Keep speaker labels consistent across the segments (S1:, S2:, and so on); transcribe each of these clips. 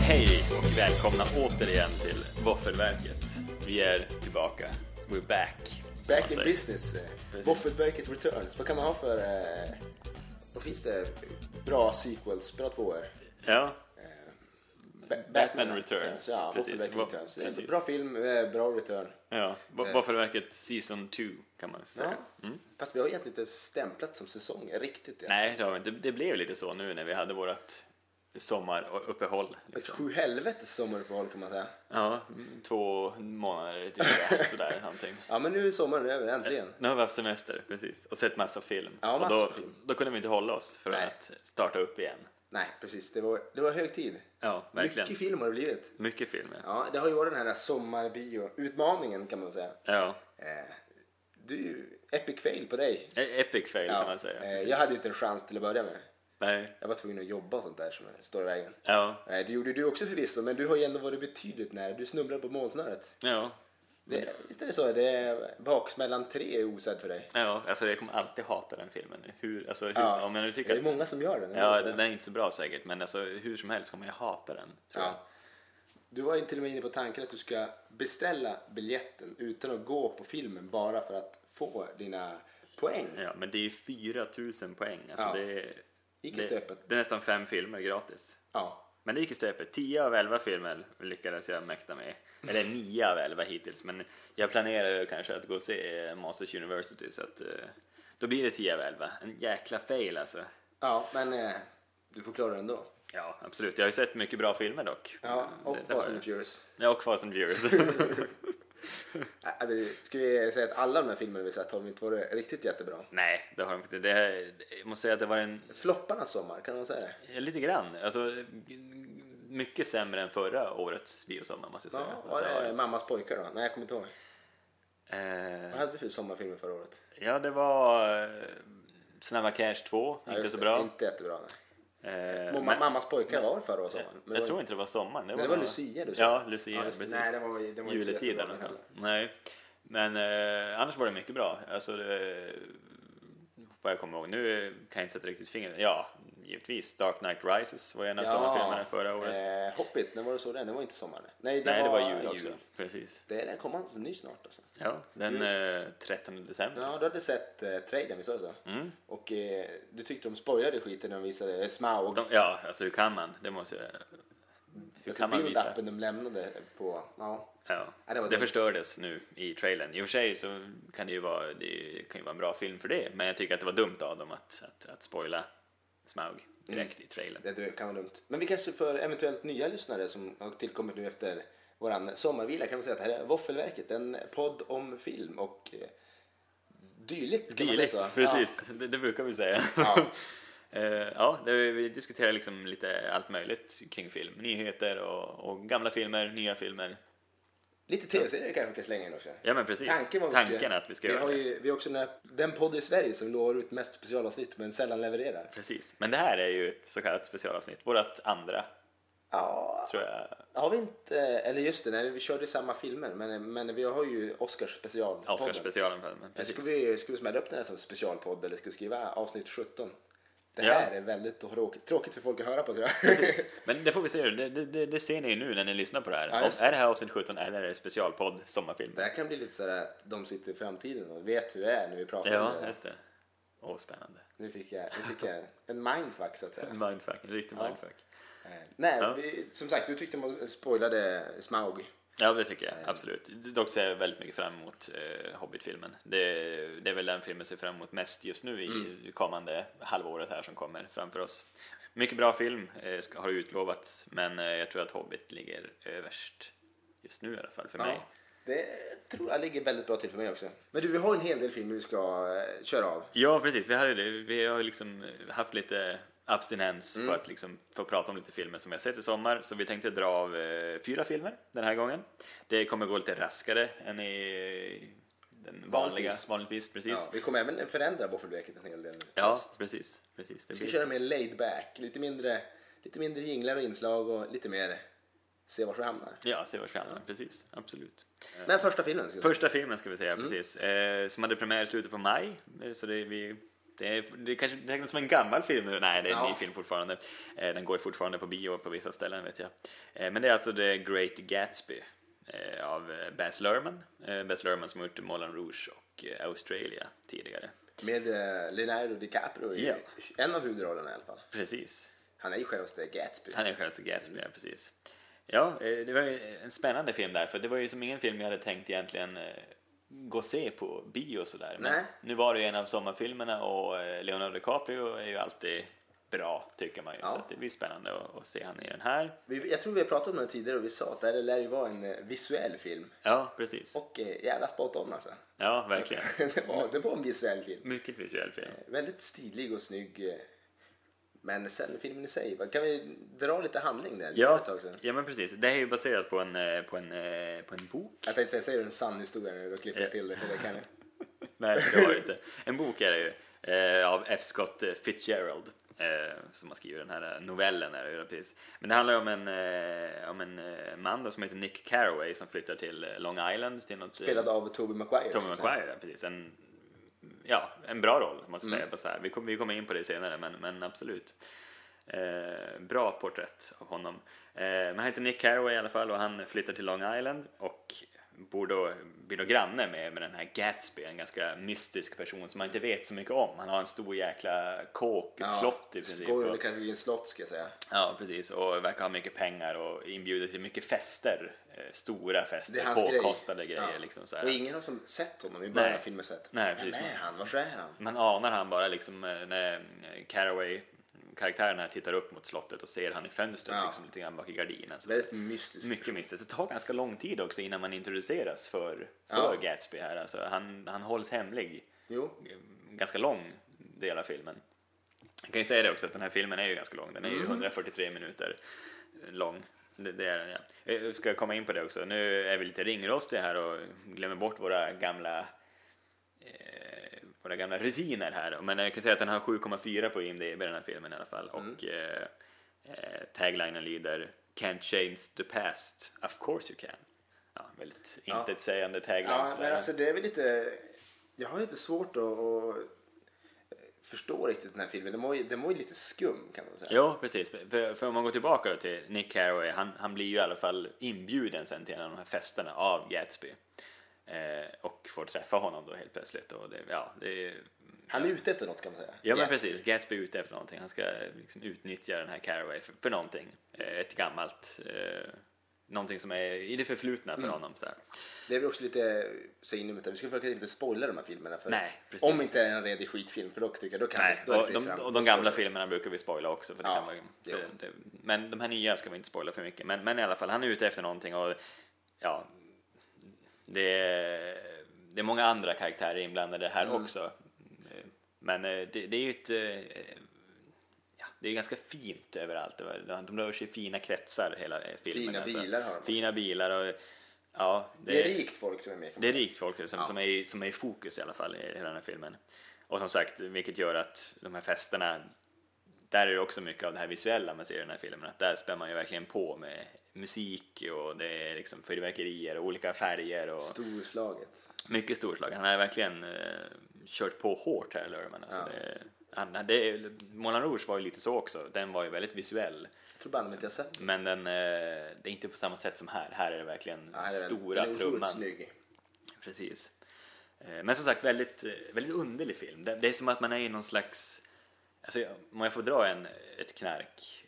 S1: Hej och välkomna återigen till Våffelverket. Vi är tillbaka. We're back. som man
S2: Back in
S1: säger.
S2: business. eh,
S1: Precis.
S2: Våffelverket Returns. Vad kan man ha för... Eh, vad finns det? Bra sequels, bra tvåor. Eh,
S1: Ja,
S2: Ba-
S1: Returns,
S2: Ja,
S1: precis.
S2: Våffelverket
S1: Wo-
S2: Returns. Det är
S1: precis.
S2: en Bra film, eh, bra return.
S1: ja. Va- Våffelverket Season 2 kan man
S2: Eh. Ja.
S1: säga.
S2: Fast vi har egentligen inte stämplat som säsong riktigt. Ja.
S1: Mm. Nej, det, har vi inte. det blev lite så nu när vi hade vårt sommaruppehåll.
S2: Ett
S1: Liksom.
S2: sju helvetes sommaruppehåll kan man säga.
S1: Ja, två månader typ, sådär någonting.
S2: Ja, men nu är sommaren över äntligen.
S1: Nu har vi haft semester, precis. Och sett massa film.
S2: Ja,
S1: och
S2: massa
S1: då,
S2: film.
S1: då kunde vi inte hålla oss från
S2: Nej.
S1: att starta upp igen.
S2: Nej, precis. Det var, det var hög tid.
S1: Ja, verkligen.
S2: Mycket
S1: Mycket,
S2: film har det blivit.
S1: film, ja.
S2: Ja, det har ju varit den här sommarbio-utmaningen kan man säga.
S1: ja.
S2: Eh, du, epic fail på dig.
S1: E- Epic fail
S2: Ja,
S1: kan man säga.
S2: eh,
S1: precis.
S2: jag hade ju inte en chans till att börja med.
S1: Nej.
S2: Jag var tvungen att jobba och sånt där som står i vägen.
S1: Ja.
S2: Eh, Det gjorde du också förvisso, men du har ju ändå varit betydligt nära. Du snubblade på målsnöret.
S1: Ja.
S2: Det, visst är det så? Det är baksmällan tre är osedd för dig.
S1: Ja, alltså Mm. jag kommer alltid hata den filmen. Hur, alltså, hur, om jag nu
S2: det
S1: tycker
S2: är
S1: att,
S2: många som gör det. nu,
S1: ja,
S2: alltså.
S1: den är inte så bra säkert, men alltså, hur som helst kommer jag hata den. Tror
S2: Ja. Du var ju till och med inne på tanken att du ska beställa biljetten utan att gå på filmen bara för att få dina poäng.
S1: jag. Ja, men det är ju 4000 poäng. Alltså,
S2: Ja.
S1: det, är-
S2: Gick i
S1: det,
S2: stöpet.
S1: det är nästan fem filmer gratis.
S2: Ja.
S1: Men det gick i stöpet. 10 av 11 filmer lyckades jag mäkta med. Eller 9 av 11 hittills. Men jag planerar ju kanske att gå och se eh, Masters University. Så att, eh, då blir det 10 av 11. En jäkla fail alltså.
S2: Ja, men eh, du får klara det ändå.
S1: Ja, absolut. Jag har ju sett mycket bra filmer dock.
S2: Ja,
S1: Mm,
S2: och
S1: det- det har
S2: Fast and
S1: jag.
S2: the Furious.
S1: Ja, och Fast and Furious.
S2: Äh, äh, Ska vi säga att alla de här filmerna vi sett har inte varit riktigt jättebra?
S1: Nej, det har de inte. Det här, jag måste säga att det var en,
S2: Flopparnas sommar, kan man säga det?
S1: lite grann, alltså mycket sämre än förra årets biosommar måste jag säga.
S2: Ja,
S1: Att
S2: var
S1: det har
S2: det
S1: varit.
S2: Mammas pojkar då? Nej, jag kommer inte ihåg. Vad
S1: Eh,
S2: hade vi för sommarfilmer förra året?
S1: ja, det var eh, Snabba Cash 2,
S2: Ja,
S1: inte
S2: just
S1: så
S2: det,
S1: bra.
S2: Inte jättebra, nej.
S1: Eh,
S2: Mamma,
S1: men-
S2: mammas pojkar var förra året sommaren.
S1: jag tror inte det var sommaren. Det
S2: Nej, det var
S1: nog-
S2: Lucia du sa.
S1: Ja, Lucia,
S2: Ja, just det.
S1: precis.
S2: Nej, det var- det var inte
S1: Juletid i
S2: jättebra
S1: alla fall.
S2: heller.
S1: Nej, men eh, annars var det mycket bra. Alltså, det, vad jag kommer ihåg. Nu kan jag inte sätta riktigt fingret. Ja, givetvis. Dark Knight Rises var en av sommarfilmerna förra året.
S2: Eh, Hoppit, när var det så den? Det var inte sommar. nej. Nej, det
S1: Nej, det
S2: var,
S1: var jul också. Precis.
S2: Det, den kom alltså ny snart alltså.
S1: Ja, den eh, 13 december.
S2: Ja, du hade sett eh, trailern, visst var det så?
S1: Mm.
S2: Och eh, du tyckte de spoilade skiten när de visade eh, Smaug.
S1: De, ja, alltså hur kan man? Det måste jag... Hur
S2: alltså
S1: kan man visa?
S2: build-upen de lämnade på, ja.
S1: Ja.
S2: Ja, det
S1: det
S2: var dumt.
S1: förstördes nu i trailern. I och för sig så kan det ju vara, det kan ju vara en bra film för det, men jag tycker att det var dumt av dem att, att, att spoila Smaug direkt i trailern.
S2: Det du- kan vara dumt. Men vi kanske för eventuellt nya lyssnare som har tillkommit nu efter våran sommarvila kan vi säga att det här är Våffelverket, en podd om film och eh, dylikt. Kan man säga
S1: Dylikt,
S2: så.
S1: precis. Det, det brukar vi säga.
S2: Ja.
S1: Eh, ja, det, vi diskuterar liksom lite allt möjligt kring film. Nyheter och, och gamla filmer, nya filmer.
S2: Lite tv-serier kanske vi kan slänga in också.
S1: Ja, men precis.
S2: Tanken var
S1: Tanken att vi ska
S2: vi
S1: göra
S2: har
S1: det.
S2: ju, Vi har också den, här, den podd i Sverige som lovar ut mest specialavsnitt men sällan levererar.
S1: Precis. Men det här är ju ett så kallat specialavsnitt. Vårt andra,
S2: Ja,
S1: tror jag.
S2: har vi inte, eller just det, nej, vi körde samma filmer men, men vi har ju Oscars special.
S1: Oscarsspecialen. men
S2: Ska
S1: Precis.
S2: vi, ska vi smälla upp den här som specialpodd eller ska vi skriva avsnitt 17? Det
S1: Ja.
S2: här är väldigt tråkigt, tråkigt för folk att höra på tror jag.
S1: Precis. Men det får vi se. Det, det- det, det ser ni ju nu när ni lyssnar på det här.
S2: Ja, just det.
S1: Är det här avsnitt 17 eller är det specialpodd sommarfilm?
S2: Det här kan bli lite sådär att de sitter i framtiden och vet hur det är när vi pratar om
S1: Ja,
S2: det.
S1: just det. Åh, spännande.
S2: Nu fick jag, nu fick jag en mindfuck så att säga.
S1: Mindfuck. En riktig mindfuck.
S2: Eh, Nej,
S1: Ja.
S2: vi, som sagt, du tyckte man spoilade Smaug.
S1: Ja, det tycker jag. Absolut. Dock ser jag väldigt mycket fram emot eh, Hobbit-filmen. Det, det är väl den filmen jag ser fram emot mest just nu i
S2: Mm.
S1: kommande halvåret här som kommer framför oss. Mycket bra film eh, ska, har utlovats, men eh, jag tror att Hobbit ligger överst just nu i alla fall för mig.
S2: Det tror jag ligger väldigt bra till för mig också. Men du, vi har en hel del filmer vi ska eh, köra av.
S1: Ja, precis. Vi, hade, det. vi har ju liksom haft lite abstinens
S2: Mm.
S1: på att liksom få prata om lite filmer som vi har sett i sommar. Så vi tänkte dra av eh, fyra filmer den här gången. Det kommer gå lite raskare än i den vanliga,
S2: Vanligtvis.
S1: vanligtvis. Precis.
S2: Ja, vi kommer även förändra Våffelbäcket en hel del.
S1: Ja, precis. precis. Det
S2: Vi ska
S1: blir-
S2: köra mer laid back, lite mindre, lite mindre jinglar och inslag och lite mer se vart vi hamnar.
S1: Ja, se vart vi hamnar. Precis, absolut.
S2: Men första filmen. Ska vi
S1: Första filmen ska vi säga, precis. Eh, som hade premiär i slutet på maj. Eh, Så det, vi Det, är, det kanske räknas som en gammal film nu. Nej, det är en
S2: Ja.
S1: ny film fortfarande. Eh, Den går ju fortfarande på bio på vissa ställen vet jag. Eh, Men det är alltså The Great Gatsby eh, av eh, Baz Luhrmann. Eh, Baz Luhrmann som har gjort Moulin Rouge och eh, Australia tidigare.
S2: Med eh, Leonardo DiCaprio i
S1: Ja.
S2: en av huvudrollerna i alla fall.
S1: Precis.
S2: Han är ju självaste Gatsby.
S1: Han är självaste Gatsby, ja precis. Ja, eh, det var ju en spännande film där, för det var ju som ingen film jag hade tänkt egentligen eh, gå och se på bio och sådär. Men
S2: Nej.
S1: nu var det ju en av sommarfilmerna och eh, Leonardo DiCaprio är ju alltid bra, tycker man ju.
S2: Ja.
S1: Så att det blir spännande att, att se han i den här.
S2: Vi, jag tror vi har pratat om den tidigare och vi sa att det här lär ju vara en eh, visuell film.
S1: Ja, precis.
S2: Och eh, jävla spot on alltså.
S1: Ja, verkligen.
S2: det, var, det var en visuell film. Eh,
S1: Mycket visuell film.
S2: Väldigt stilig och snygg. eh, Men sen filmen i sig. Kan vi dra lite handling där? Det var
S1: Ja,
S2: ett tag sedan.
S1: ja, men precis. Det här är ju baserat på en, eh, på en, eh, på en bok.
S2: Jag tänkte säga, säger du en sann historia nu? Då klipper jag till det. För det kan jag.
S1: Nej, det var det inte. En bok är det ju eh, av F. Scott Fitzgerald eh, som har skrivit den här eh, novellen. Är det ju, precis. Men det handlar ju om en, eh, om en eh, man då, som heter Nick Carraway som flyttar till eh, Long Island. Till något,
S2: Spelad av Tobey Maguire. typ,
S1: Tommy
S2: som sagt.
S1: McGuire, ja, precis. En, ja, en bra roll måste jag
S2: Mm.
S1: säga. Bara så här. Vi, kommer, vi kommer in på det senare, men, men absolut. Eh, bra porträtt av honom. Eh, men han heter Nick Carraway i alla fall och han flyttar till Long Island och bor då, blir då granne med, med den här Gatsby, en ganska mystisk person som man inte vet så mycket om. Han har en stor jäkla kåk, ett slott i princip.
S2: Skoj,
S1: och-
S2: det kanske blir en slott ska jag säga.
S1: Ja, precis. Och verkar ha mycket pengar och inbjuder till mycket fester. Eh, stora
S2: Det är
S1: fester,
S2: hans grej.
S1: påkostade grejer.
S2: Ja.
S1: Liksom, så här.
S2: Och ingen har som sett honom i början
S1: Nej.
S2: av filmen sett.
S1: Nej,
S2: Vem
S1: precis.
S2: är han? Varför är han?
S1: Man anar han bara liksom eh, när eh, Caraway karaktären här tittar upp mot slottet och ser han i fönstret
S2: Ja.
S1: liksom lite grann bak i gardinen. Så
S2: Väldigt mystisk.
S1: mycket mystiskt. Det tar ganska lång tid också innan man introduceras för,
S2: Ja.
S1: för Gatsby här. Alltså, han, han hålls hemlig
S2: Jo,
S1: eh, ganska lång del av filmen. Jag kan ju säga det också att den här filmen är ju ganska lång. Den är ju
S2: Mm.
S1: 143 minuter lång. Det, det är den ja. Jag ska komma in på det också. Nu är vi lite ringrostiga här och glömmer bort våra gamla eh, våra gamla rutiner här. Men jag kan säga att den har 7,4 på IMDB den här filmen i alla fall.
S2: Mm.
S1: Och eh, eh, taglinen lyder Can't change the past, of course you can. Ja, väldigt
S2: Ja.
S1: intetsägande tagline.
S2: Ja,
S1: sådär.
S2: men alltså det är väl lite... Jag har lite svårt att, att eh, förstå riktigt den här filmen. Den var ju, den var ju lite skum kan man säga.
S1: Ja, precis. För, för, för om man går tillbaka då till Nick Carraway, han, han blir ju i alla fall inbjuden sen till en av de här festerna av Gatsby. Eh, och får träffa honom då helt plötsligt. Och det, ja, det, är-
S2: Han är ute efter något kan man säga.
S1: ja, men
S2: Jätte-
S1: precis. Gatsby är ute efter någonting. Han ska liksom utnyttja den här Carraway för, för någonting. Eh, ett gammalt... Eh, någonting som är i det förflutna för honom. Så här.
S2: Det är väl också lite, säg nu utan vi ska försöka inte spoila de här filmerna. För
S1: Nej, precis.
S2: om inte det är en redig skitfilm för då tycker jag då kan
S1: Nej,
S2: vi, då är det
S1: och
S2: fritt
S1: de,
S2: fram.
S1: och de gamla filmerna brukar vi spoila också. För det
S2: Ja,
S1: kan vara,
S2: jo.
S1: för det, men de här nya ska vi inte spoila för mycket. Men, men i alla fall, han är ute efter någonting och ja, det är, det är många andra karaktärer inblandade här
S2: Mm.
S1: också. Men eh, det, det är ju ett eh, ja, det är ganska fint överallt. Det var- De rör sig i fina kretsar hela eh, filmen.
S2: Fina bilar har de också.
S1: Fina bilar och ja,
S2: Det är rikt folk som är med. kan man
S1: det är rikt folk som,
S2: Ja.
S1: som, är, i- som är i fokus i alla fall i hela den här filmen. Och som sagt, vilket gör att de här festerna, där är det också mycket av det här visuella man ser i den här filmen. Att där spär man ju verkligen på med musik och det är liksom fyrverkerier och olika färger och
S2: säga. Storslaget.
S1: mycket storslag. Han har verkligen eh, kört på hårt här, Lurman. Alltså,
S2: Ja.
S1: det, han, det, Moulin Rouge var ju lite så också, den var ju väldigt visuell.
S2: Jag tror bandet inte jag har sett den.
S1: Men den, eh, det är inte på samma sätt som här, här är det verkligen
S2: Ja, här är den.
S1: Mm. stora
S2: den är otroligt
S1: trumman.
S2: Snygg.
S1: Precis. Eh, Men som sagt, väldigt, eh, väldigt underlig film. Det det är som att man är i någon slags... Alltså, jag- om jag får dra en, ett knark,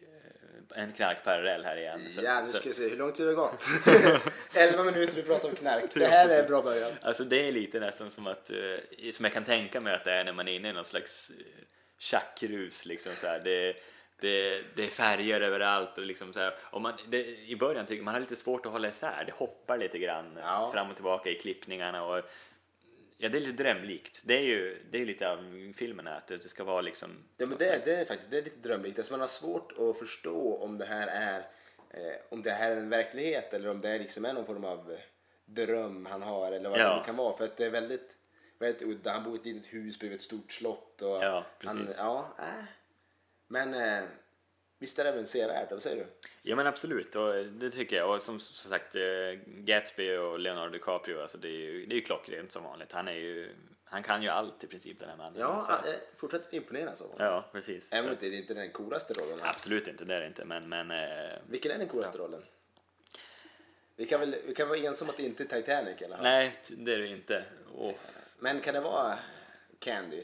S1: eh, en knarkparallell här igen. så-
S2: Ja, nu
S1: så-
S2: ska vi se hur lång tid det har gått. 11 minuter vi pratar om knark. Det här är en bra början.
S1: Alltså det är lite nästan som att, eh, som jag kan tänka mig att det är när man är inne i någon slags eh, tjackrus liksom så här. Det, det, det är färger överallt och liksom så här. Och man, det, I början tycker man har lite svårt att hålla isär, det hoppar lite grann
S2: Ja.
S1: fram och tillbaka i klippningarna och ja, det är lite drömlikt. Det är ju det är lite av filmen här, att det det ska vara liksom
S2: Ja, men
S1: någon
S2: det,
S1: slags-
S2: det är faktiskt det är lite drömlikt. Alltså man har svårt att förstå om det här är eh, om det här är en verklighet eller om det liksom är någon form av dröm han har eller vad
S1: Ja.
S2: det nu kan vara. För att det är väldigt, väldigt udda. Han bor i ett litet hus bredvid ett stort slott. Och
S1: Ja,
S2: han,
S1: precis.
S2: ja, äh. Men eh, visst är det väl sevärd? Vad säger du?
S1: Ja men absolut, och det tycker jag. Och som, som sagt, eh, Gatsby och Leonardo DiCaprio, alltså det är ju, det är ju klockrent som vanligt. Han är ju, Han kan ju allt i princip den här mannen. Så-
S2: Ja, eh, fortsätt imponeras av honom.
S1: ja precis.
S2: Även
S1: Så-
S2: om det inte är den coolaste rollen.
S1: Absolut inte, det är det inte. Men, men eh,
S2: Vilken är den coolaste rollen? Vi kan väl vi kan vara ensamma att det inte är Titanic eller?
S1: nej, t- det är det inte. Åh.
S2: Men kan det vara Candy?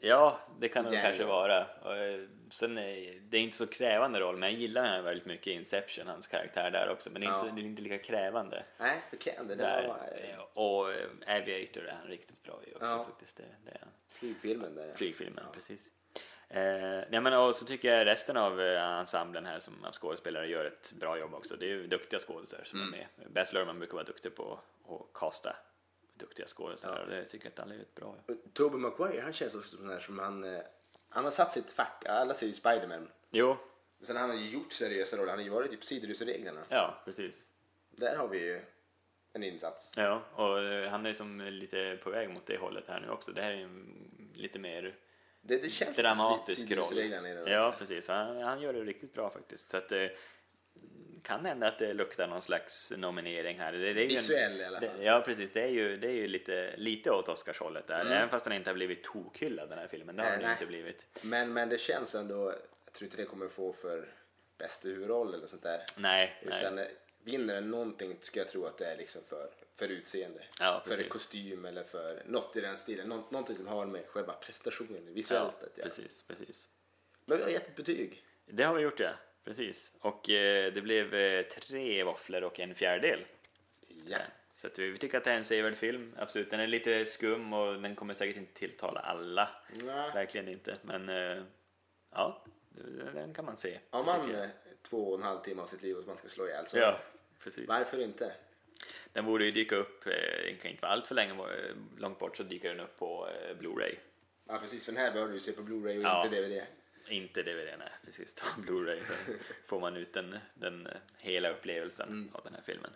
S1: Ja, det kan det
S2: Django.
S1: kanske vara. Och, eh, Sen är, det är inte så krävande roll, men jag gillar han väldigt mycket i Inception, hans karaktär där också. Men det är inte,
S2: Ja.
S1: det är inte lika krävande.
S2: Nej, för Candy det
S1: Där.
S2: var eh,
S1: Och eh, Aviator är han riktigt bra i också
S2: Ja.
S1: faktiskt. Det, det är han.
S2: flygfilmen där.
S1: Flygfilmen, precis. Eh, nej men och så tycker jag resten av eh, ensemblen här som av skådespelare gör ett bra jobb också. Det är ju duktiga skådespelare som är med. Baz Luhrmann brukar vara duktig på att casta duktiga skådespelare och det tycker jag att alla är ett bra jobb.
S2: Tobey Maguire han känns också som den här som han, eh, han har satt sitt fack, alla säger ju Spiderman.
S1: Jo,
S2: Sen han har ju gjort seriösa roller, han har ju varit i typ Sidorusreglerna.
S1: ja precis.
S2: Där har vi ju en insats.
S1: Ja, och eh, han är som lite på väg mot det hållet här nu också. Det här är ju en lite mer
S2: Det, det känns
S1: dramatisk
S2: lite
S1: roll.
S2: Sidorusreglerna i den.
S1: Ja, precis. Han, han gör det riktigt bra faktiskt. Så att, eh, kan hända att det luktar någon slags nominering här. Det, det är ju en-
S2: Visuell i alla
S1: det-
S2: fall.
S1: Ja, precis. Det är ju, det är ju lite, lite åt Oscarshållet där. Även fast den inte har blivit tokhyllad den här filmen. Det har
S2: Mm. Nej,
S1: den ju
S2: nej.
S1: inte blivit.
S2: Men, men det känns ändå, jag tror inte det kommer få för bästa huvudroll eller sånt där.
S1: Nej,
S2: Utan
S1: nej.
S2: eh, vinner den någonting ska jag tro att det är liksom för, för utseende.
S1: Ja,
S2: för
S1: precis.
S2: kostym eller för något i den stilen. Nå- någonting som har med själva prestationen visuellt att göra.
S1: precis, precis.
S2: Men vi har gett ett betyg.
S1: Det har vi gjort ja, precis. Och eh, det blev eh, tre våfflor och en fjärdedel.
S2: Ja.
S1: Så att vi vi tycker att det är en sevärd film, absolut. Den är lite skum och den kommer säkert inte tilltala alla.
S2: Nej.
S1: Verkligen inte, men eh, ja, den kan man se.
S2: Har man
S1: tycker jag.
S2: eh, två och en halv timme av sitt liv att man ska slå ihjäl så
S1: Ja, precis.
S2: varför inte?
S1: Den borde ju dyka upp, eh, den kan inte vara allt för länge eh, långt bort så dyker den upp på eh, Blu-ray.
S2: Ja precis, för den här bör du se på Blu-ray och
S1: Ja.
S2: inte DVD.
S1: Inte DVD, nej precis. Då Blu-ray då får man ut den, den eh, hela upplevelsen
S2: Mm.
S1: av den här filmen.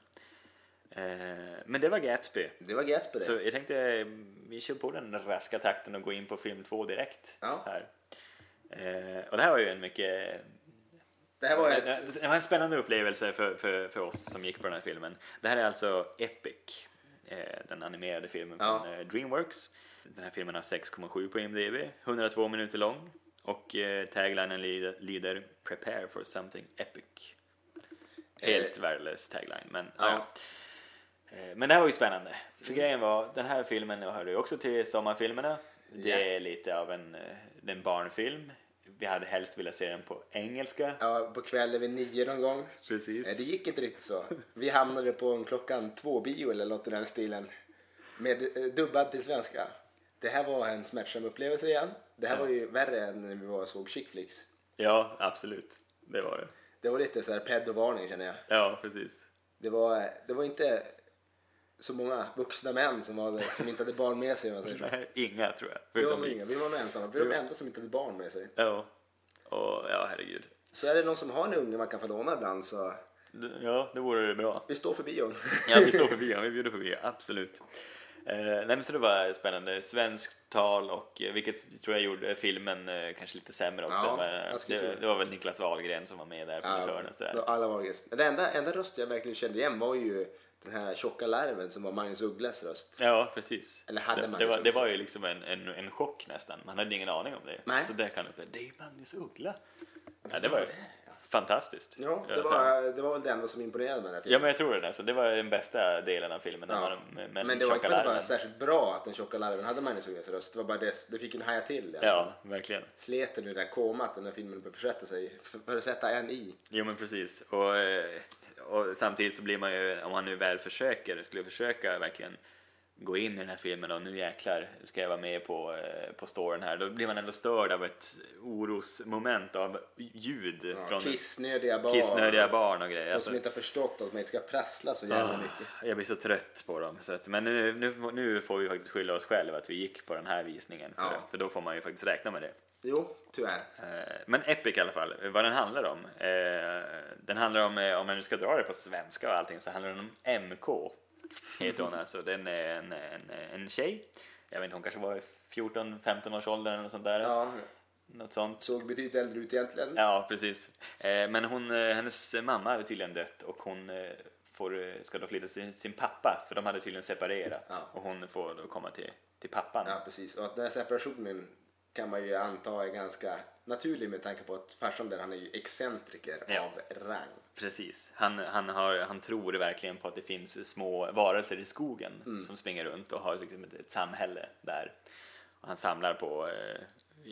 S1: Eh, men det var Gatsby.
S2: Det var Gatsby det.
S1: Så jag tänkte eh, vi kör på den raska takten och går in på film två direkt.
S2: Ja.
S1: Här. Eh, och det här var ju en mycket
S2: Det här var ett...
S1: Eh, det var en spännande upplevelse för, för, för oss som gick på den här filmen. Det här är alltså Epic, eh, den animerade filmen
S2: Ja.
S1: från eh, Dreamworks. Den här filmen har 6,7 på IMDB, 102 minuter lång och eh, taglinen lyder, lyder “Prepare for something epic”. Helt värdelös tagline, men ja.
S2: Eh. Ja.
S1: Eh, Men det här var ju spännande. För grejen var, den här filmen hörde ju också till sommarfilmerna. Det
S2: Ja.
S1: är lite av en, eh, det är en barnfilm. Vi hade helst velat se den på engelska.
S2: Ja, på kvällen vid nio någon gång.
S1: Precis.
S2: Nej, det gick inte riktigt så. Vi hamnade på en klockan två-bio eller något i den stilen. Med eh, dubbad till svenska. Det här var en smärtsam upplevelse igen. Det här var ju värre än när vi var och såg chick flicks.
S1: Ja, absolut. Det var det.
S2: Det var lite så här pedovarning känner jag.
S1: Ja, precis.
S2: Det var, det var inte så många vuxna män som, var, som inte hade barn med sig. om man säger så.
S1: Nej, Inga tror jag.
S2: Vi var
S1: Förutom
S2: nog
S1: vi.
S2: inga, vi var nog ensamma. Vi var de enda som inte hade barn med sig.
S1: Ja. Och, ja, herregud.
S2: Så är det någon som har en unge man kan få låna ibland så
S1: D- Ja, det vore det bra.
S2: vi står för bion.
S1: Ja, vi står på bio. Vi bjuder på bio, absolut. Eh, nej, men så det var spännande. Svenskt tal och eh, vilket tror jag gjorde filmen eh, kanske lite sämre också.
S2: Ja,
S1: men, eh,
S2: jag skulle
S1: det,
S2: tro.
S1: det var väl Niklas Wahlgren som var med där på ett hörn och sådär.
S2: då alla var gäst. Den enda, enda rösten jag verkligen kände igen var ju den här tjocka larven som var Magnus Ugglas röst.
S1: Ja, precis.
S2: Typ. Eller hade
S1: det,
S2: Magnus
S1: det, var, det
S2: Uggla
S1: var ju liksom en, en, en chock nästan. Man hade ingen aning om det.
S2: Nej.
S1: Så där kan det, det är ju Magnus Uggla. Ja, det var ju fantastiskt.
S2: Ja, det
S1: Jag
S2: var, det var väl det enda som imponerade med den här
S1: Ja
S2: filmen.
S1: men jag tror det alltså. Det var den bästa delen av filmen. när
S2: Ja.
S1: Man, med, med
S2: Men det var inte
S1: tjocka
S2: för att det var
S1: larven.
S2: särskilt bra att den tjocka larven hade Magnus Ugglas röst. Det var bara det, det fick en haja till. Ja.
S1: Ja, verkligen.
S2: Slet den ur det där komat den här filmen behöver försätta sig för- försätta en i.
S1: Jo men precis. Och, eh, och samtidigt så blir man ju, om man nu väl försöker, skulle försöka verkligen gå in i den här filmen och nu jäklar ska jag vara med på, eh, på storyn här. Då blir man ändå störd av ett orosmoment av ljud
S2: Ja,
S1: från
S2: kissnödiga barn.
S1: kissnödiga barn och grejer.
S2: De
S1: Alltså, ah,
S2: som inte har förstått att man inte ska prassla så jävla mycket.
S1: jag blir så trött på dem. Så att, men nu, nu, nu får vi faktiskt skylla oss själva att vi gick på den här visningen. För,
S2: Ja.
S1: för då får man ju faktiskt räkna med det.
S2: Jo, tyvärr.
S1: Eh, Men Epic i alla fall, eh, vad den handlar om. Eh, Den handlar om, eh, om man nu ska dra det på svenska och allting, så handlar den om MK. Heter hon alltså. Den är en, en, en tjej. Jag vet inte, hon kanske var i 14-15 års ålder eller något sånt där.
S2: Ja,
S1: Något sånt.
S2: såg betydligt äldre ut egentligen.
S1: Ja, precis. Eh, Men hon, eh, hennes mamma har tydligen dött och hon eh, får, ska då flytta till sin, sin pappa för de hade tydligen separerat
S2: Ja.
S1: och hon får då komma till, till pappan.
S2: Ja, precis. Och att den här separationen kan man ju anta är ganska naturlig med tanke på att farsan där, han är ju excentriker
S1: Ja.
S2: av rang.
S1: Precis, han, han, har, han tror verkligen på att det finns små varelser i skogen
S2: Mm.
S1: som springer runt och har liksom ett, ett samhälle där. Och han samlar på, eh,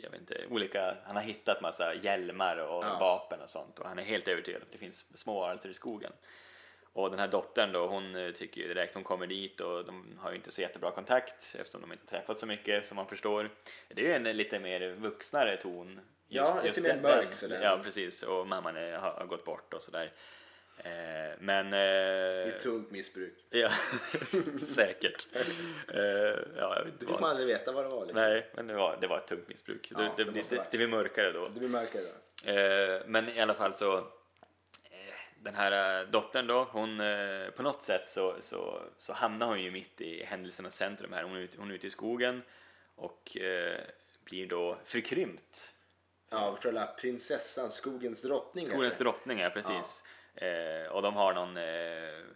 S1: jag vet inte, olika, han har hittat massa hjälmar och
S2: Ja.
S1: vapen och sånt och han är helt övertygad om att det finns små varelser i skogen. Och den här dottern då, hon eh, tycker ju direkt, hon kommer dit och de har ju inte så jättebra kontakt eftersom de inte har träffats så mycket som man förstår. Det är ju en eh, lite mer vuxnare ton.
S2: Ja, lite mer
S1: den-
S2: mörk
S1: den-
S2: sådär.
S1: Ja, precis. Och mamman är, har, har gått bort och sådär. Eh, men...
S2: Det
S1: Eh,
S2: är tungt missbruk.
S1: ja, säkert. Eh, ja, jag vet inte
S2: Det fick
S1: vad.
S2: man aldrig veta vad det var liksom.
S1: Nej, men det var, det var ett tungt missbruk.
S2: Ja,
S1: det,
S2: det
S1: det,
S2: måste
S1: det,
S2: vara.
S1: det blir mörkare då.
S2: Det blir mörkare då.
S1: Eh, men i alla fall så, eh, den här eh, dottern då, hon eh, på något sätt så, så, så hamnar hon ju mitt i händelsernas centrum här. Hon är ute, hon är ute i skogen och eh, blir då förkrympt.
S2: Ja, och själva prinsessan, skogens drottning.
S1: Mm. Skogens
S2: kanske.
S1: drottning, ja precis. Eh, och de har någon, eh,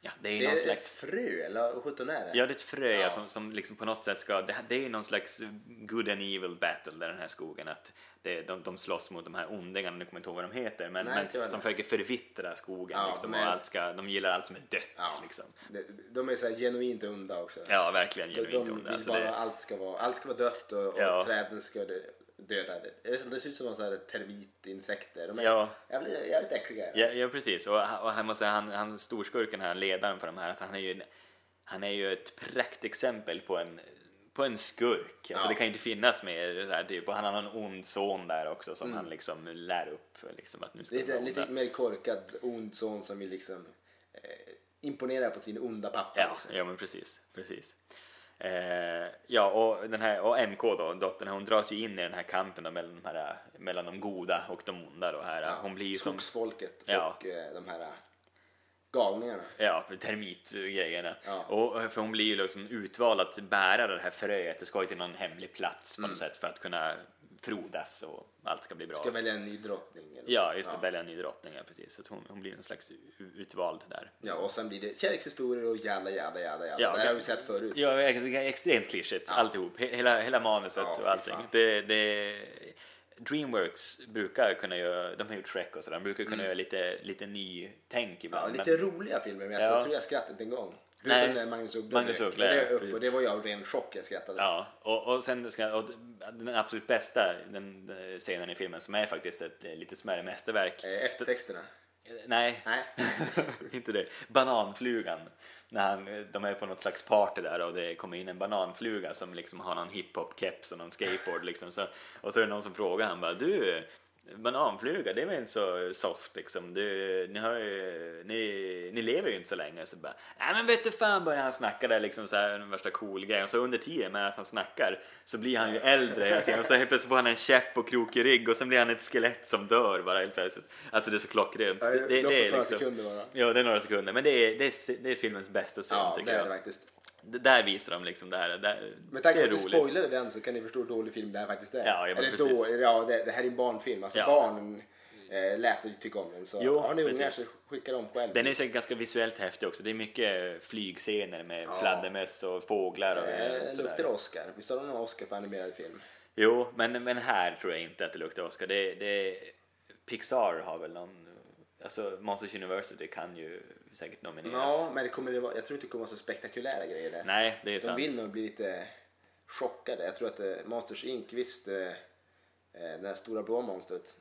S1: ja det är ju
S2: Det
S1: någon
S2: är
S1: slags
S2: ett frö, eller vad sjutton är det?
S1: Ja, det är ett frö ja.
S2: Ja.
S1: som, som liksom på något sätt ska... Det, här- det är någon slags good and evil battle där den här skogen. Att det, de, de slåss mot de här ondingarna, nu kommer jag inte ihåg vad de heter, men,
S2: Nej, inte jag
S1: men
S2: heller.
S1: som försöker förvittra skogen.
S2: Ja,
S1: liksom,
S2: men-
S1: och allt ska, de gillar allt som är dött.
S2: Ja.
S1: Liksom.
S2: Det- De är så här genuint onda också.
S1: ja verkligen
S2: de
S1: genuint
S2: de
S1: onda.
S2: vill
S1: Så
S2: bara
S1: det,
S2: allt, ska vara, allt ska vara dött och, och
S1: Ja.
S2: träden ska dö- döda det. Det är- det ser ut som någon sån här termitinsekter. De är
S1: Ja.
S2: jävligt, jävligt äckliga.
S1: ja, ja, precis. Och, och han, måste, han, han storskurken här, ledaren för de här, alltså, han, är ju, en- han är ju ett praktexempel på en på en skurk, alltså
S2: Ja.
S1: det kan ju inte finnas mer så här, typ. och han har någon ond son där också som han liksom lär upp liksom, att nu ska du
S2: Mm. Lite,
S1: vara onda.
S2: lite mer korkad, ond son som vill liksom eh, imponera på sin onda pappa.
S1: Ja,
S2: liksom.
S1: ja men precis. precis. Eh, ja, och, den här, och MK då, dottern, hon dras ju in i den här kampen då, mellan, de här, mellan de goda och de onda. Då, här. Hon blir ju som
S2: Skogsfolket
S1: Ja.
S2: och eh, de här eh, galningarna.
S1: ja, termitgrejerna.
S2: Ja.
S1: Och, för hon blir ju liksom utvald att bära det här fröet, det ska ju till någon hemlig plats på något sätt för att kunna frodas och allt ska bli bra.
S2: Mm. Ska välja en ny drottning. Eller?
S1: Ja, just det, välja en ny drottning, ja, precis. Så att hon, hon blir en slags u- utvald där.
S2: Ja, och sen blir det kärlekshistorier och jävla jävla jävla jävla.
S1: Ja,
S2: det
S1: okej.
S2: här har vi sett förut.
S1: Ja, ex- extremt klyschigt alltihop. He- Hela, hela manuset
S2: Ja,
S1: och
S2: fy
S1: allting.
S2: fan.
S1: Det, det, Dreamworks brukar kunna göra, de har gjort Shrek och sådär, de brukar kunna göra lite, lite nytänk
S2: Mm. Ja,
S1: ibland.
S2: lite
S1: men,
S2: roliga filmer, men
S1: Ja.
S2: jag tror jag skrattade inte en gång.
S1: Nej.
S2: Förutom när Magnus Uggla
S1: Magnus
S2: dök.
S1: Uggla,
S2: det,
S1: ja,
S2: är upp,
S1: precis.
S2: och det var jag av ren chock jag skrattade.
S1: ja, och, och sen ska, och den absolut bästa den, den scenen i filmen som är faktiskt ett eh, lite smärre mästerverk.
S2: Eh, Eftertexterna.
S1: Nej,
S2: Nej.
S1: inte det. Bananflugan. När han, de är på något slags party där och det kommer in en bananfluga som liksom har någon hiphop-keps och någon skateboard liksom. Så, och så är det någon som frågar han bara du, bananfluga det var inte så soft liksom. Du, ni, har ju, ni, ni lever ju inte så länge. Så bara, nej men vet du fan börjar han snacka där liksom så här den värsta cool grejen. Och så under tiden medan han snackar så blir han ju äldre hela tiden. Och så helt plötsligt får han en käpp och krokig rygg och sen blir han ett skelett som dör bara helt plötsligt. Alltså det är så klockrent.
S2: Ja,
S1: Det, det, det
S2: loppet
S1: är
S2: tar
S1: liksom,
S2: sekunder bara.
S1: Ja, det är några sekunder, men det är, det är, det är filmens bästa scen
S2: Ja, det
S1: tycker
S2: är
S1: jag.
S2: det faktiskt.
S1: Det där visar de liksom det här. Det,
S2: Med
S1: det
S2: tanke på
S1: är
S2: att du
S1: roligt.
S2: spoilade den så kan ni förstå hur dålig film det här faktiskt är.
S1: Ja, ja, men
S2: Eller
S1: precis.
S2: då, ja, det, det här är en barnfilm. Alltså
S1: Ja.
S2: barnen eh, lät ju tycka om den. Så
S1: Jo,
S2: har ni ungar så
S1: precis.
S2: skicka dem själv.
S1: Den är säkert ganska visuellt häftig också. Det är mycket flygscener med
S2: Ja.
S1: fladdermöss och fåglar och
S2: eh,
S1: sådär.
S2: luktar Oscar. Visst har de någon Oscar för animerad film?
S1: Jo, men, men här tror jag inte att det luktar Oscar. Det, det, Pixar har väl någon... Alltså Monsters University kan ju säkert nomineras.
S2: Ja, men det kommer, det vara- jag tror inte det kommer vara så spektakulära grejer där.
S1: Nej, det är
S2: De
S1: sant.
S2: vill nog bli lite chockade. Jag tror att eh, Monsters Inc. Visst, eh, eh, det här stora blå monstret.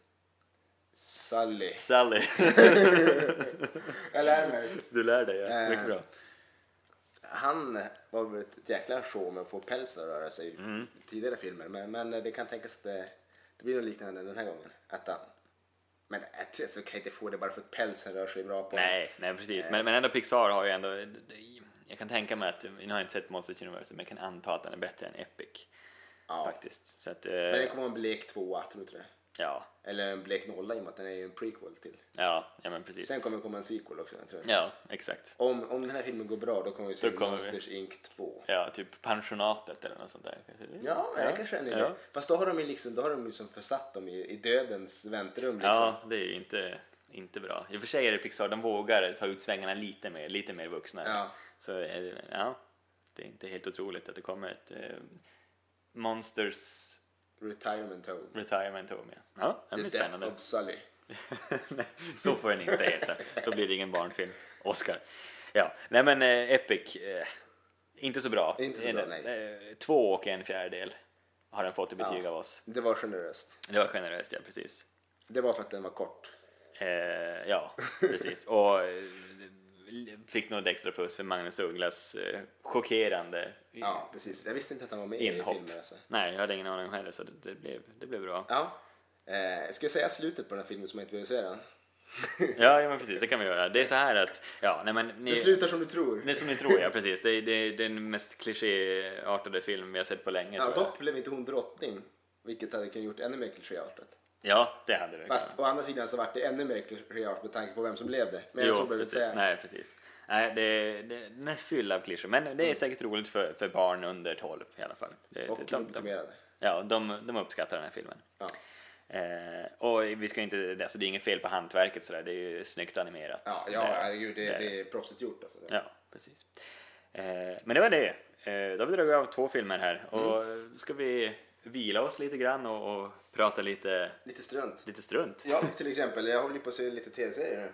S2: Sully.
S1: Sally,
S2: Jag lär mig.
S1: du lär dig. Ja.
S2: Eh.
S1: Mycket bra.
S2: Han var väl ett jäkla show med att få pälsen att röra sig i
S1: Mm.
S2: tidigare filmer. Men, men det kan tänkas att det, det blir något liknande den här gången. Att han, men att, så kan jag inte få det bara för att pälsen rör sig bra på honom.
S1: Nej, nej precis. Men, men ändå Pixar har ju ändå... Jag kan tänka mig att, nu har jag inte sett Monsters University, men jag kan anta att den är bättre än Epic.
S2: Ja.
S1: Faktiskt. Så att, eh,
S2: Men det kommer vara en blek tvåa, tror du inte det?
S1: ja,
S2: Eller en blek nolla i och med att den är ju en prequel till.
S1: ja, ja men precis.
S2: Sen kommer det komma en sequel också, tror jag.
S1: Ja, exakt.
S2: Om, om den här filmen går bra då kommer vi se
S1: Då kommer vi.
S2: Monsters Inc 2.
S1: Ja, typ pensionatet eller något sånt där. kanske.
S2: Ja, det kanske är en idé.
S1: Ja.
S2: Fast då har de ju liksom, då har de ju som försatt dem i, i dödens väntrum. Liksom.
S1: Ja, det är ju inte, Inte bra. I och för sig är det Pixar, de vågar ta ut svängarna lite mer, lite mer vuxna.
S2: Ja.
S1: Så eh, ja, det är inte helt otroligt att det kommer ett eh, Monsters
S2: Retirement Home.
S1: Retirement Home. Ja, ja det
S2: The
S1: blir
S2: Death
S1: spännande.
S2: of Sully.
S1: Nej, så får den inte heta. Då blir det ingen barnfilm. Oscar. Ja, nej men eh, Epic. Eh, inte så bra.
S2: Inte så
S1: En-
S2: bra, nej.
S1: eh, Två och en fjärdedel har den fått i betyg
S2: Ja.
S1: av oss.
S2: Det var generöst.
S1: Det var generöst, ja precis.
S2: Det var för att den var kort.
S1: Eh, ja, precis. Och eh, fick nog ett extra puss för Magnus Ugglas eh, chockerande
S2: Ja, precis. Jag visste inte att han var med i
S1: inhopp.
S2: filmen. Alltså.
S1: Nej, jag hade ingen aning heller så det, det, blev, det blev bra.
S2: Ja. Eh, ska jag säga slutet på den här filmen som jag inte behöver säga? den?
S1: Ja, ja men precis, det kan vi göra. Det är så här att, ja, nej men... Ni,
S2: Det slutar som du tror.
S1: Det är som ni tror, ja precis. Det är, det är den mest klichéartade film vi har sett på länge.
S2: Ja,
S1: tror jag.
S2: dock blev inte hon drottning, vilket hade kunnat gjort ännu mer klichéartat.
S1: ja det hade det.
S2: Fast
S1: kunnat.
S2: å andra sidan så vart det ännu mer klichéartat med tanke på vem som blev det. Men
S1: jo,
S2: jag tror behöver
S1: precis.
S2: säga.
S1: Nej, precis. Nej, det, det, den är fylld av klyschor. Men det är säkert roligt för, för barn under 12 i alla fall. Det,
S2: Mm. Och
S1: det, de, de,
S2: legitimerade.
S1: ja, de, de uppskattar den här filmen.
S2: Ja.
S1: Eh, och vi ska inte, alltså det är inget fel på hantverket sådär, det är ju snyggt animerat.
S2: Ja, ja,
S1: Det-
S2: herregud, det,
S1: det-
S2: det är proffsigt gjort alltså.
S1: Ja, precis. Eh, men det var det. Eh, då har vi dragit av två filmer här. Och
S2: Mm.
S1: ska vi vila oss lite grann och, och prata lite,
S2: Lite strunt.
S1: lite strunt?
S2: Ja, till exempel, jag håller ju på att se lite tv-serier nu.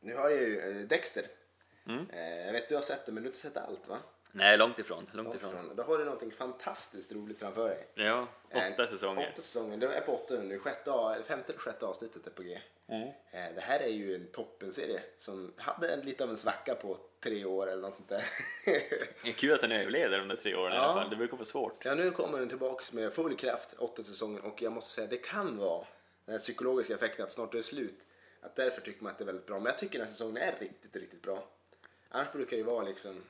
S2: Nu har jag ju eh, Dexter.
S1: Mm.
S2: Eh, jag vet du har sett det, men du har inte sett allt va?
S1: Nej, långt ifrån. Långt, ifrån.
S2: Utifrån. Då har du någonting fantastiskt roligt framför dig.
S1: Ja, åtta
S2: Eh,
S1: säsonger.
S2: Åtta säsonger. Det är på åtta nu. Sjätte, av- eller femte eller sjätte avsnittet är på G.
S1: Mm.
S2: Eh, Det här är ju en toppenserie som hade en, lite av en svacka på tre år eller något sånt där.
S1: Det är kul att den överlevde de där tre åren i
S2: Ja.
S1: alla fall. Det brukar vara svårt.
S2: ja, nu kommer den tillbaks med full kraft, åtta säsonger. Och jag måste säga, det kan vara den här psykologiska effekten att snart är det slut. Att därför tycker man att det är väldigt bra. Men jag tycker den här säsongen är riktigt, riktigt bra. Annars brukar det ju vara liksom,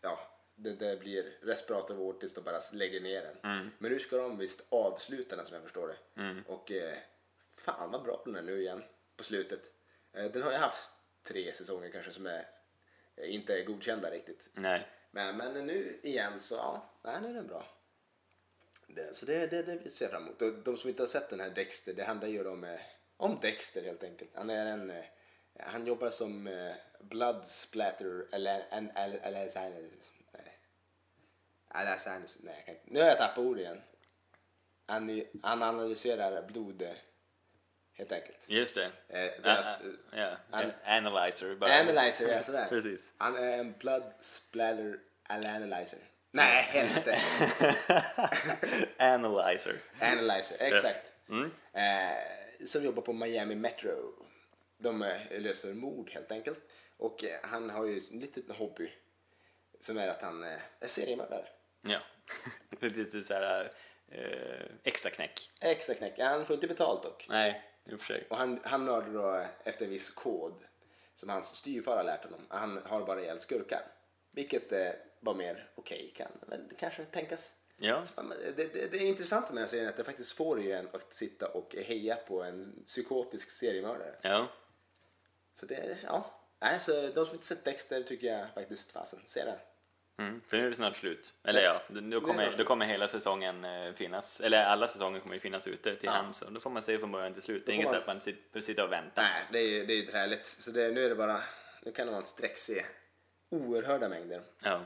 S2: ja, det, det blir respirator vård tills de bara lägger ner den. Men nu ska de visst avsluta den som jag förstår det. Och eh, fan vad bra den är nu igen på slutet. Eh, den har ju haft tre säsonger kanske som är, eh, inte är godkända riktigt.
S1: Nej.
S2: Men, men nu igen så, ja, nej, nu är den bra. Det, så det, det, det ser jag fram emot. Och de som inte har sett den här Dexter, det handlar ju om, eh, om Dexter helt enkelt. Han är en, eh, han jobbar som eh, blood splatter, eller en, eller, eller, eller, nej. Eller, eller, nej, jag kan inte. Nu har jag tappat ord igen. Han, han analyserar blod, eh, helt enkelt.
S1: Just det.
S2: Eh, deras,
S1: Ah, ah,
S2: eh,
S1: ja.
S2: an-
S1: Analyzer. Bara.
S2: Analyzer, ja sådär.
S1: Precis.
S2: Han är en blood splatter al- analyzer. Nej, helvete.
S1: Analyzer.
S2: analyzer, exakt. Eh, som jobbar på Miami Metro. De eh, löser mord helt enkelt. Och eh, han har ju en liten hobby. Som är att han eh, är seriemördare.
S1: Ja. Lite såhär eh, extra knäck.
S2: Extra knäck. Han får inte betalt dock.
S1: Nej, i och för sig.
S2: Och han, han mördar då efter en viss kod som hans styvfar har lärt honom. Han har bara ihjäl skurkar. Vilket eh, var mer okej kan väl kanske tänkas.
S1: Ja.
S2: Så, men Det, det, det är intressant med den här serien att det faktiskt får ju en att sitta och heja på en psykotisk seriemördare.
S1: Ja.
S2: Så det, ja. Nej, så de som inte sett Dexter tycker jag faktiskt, fasen, se den.
S1: Mm, för nu är det snart slut. Eller ja, då
S2: Det är
S1: kommer,
S2: snart
S1: då kommer hela säsongen eh, finnas. Eller alla säsonger kommer ju finnas ute till
S2: Ja.
S1: hands. Och då får man se från början till slut. Det är
S2: får
S1: inget så
S2: man-
S1: att man sit- behöver sitta och vänta.
S2: Nej, det är ju det är ju inte härligt. Så det, nu är det bara, nu kan man sträck se oerhörda mängder.
S1: Ja,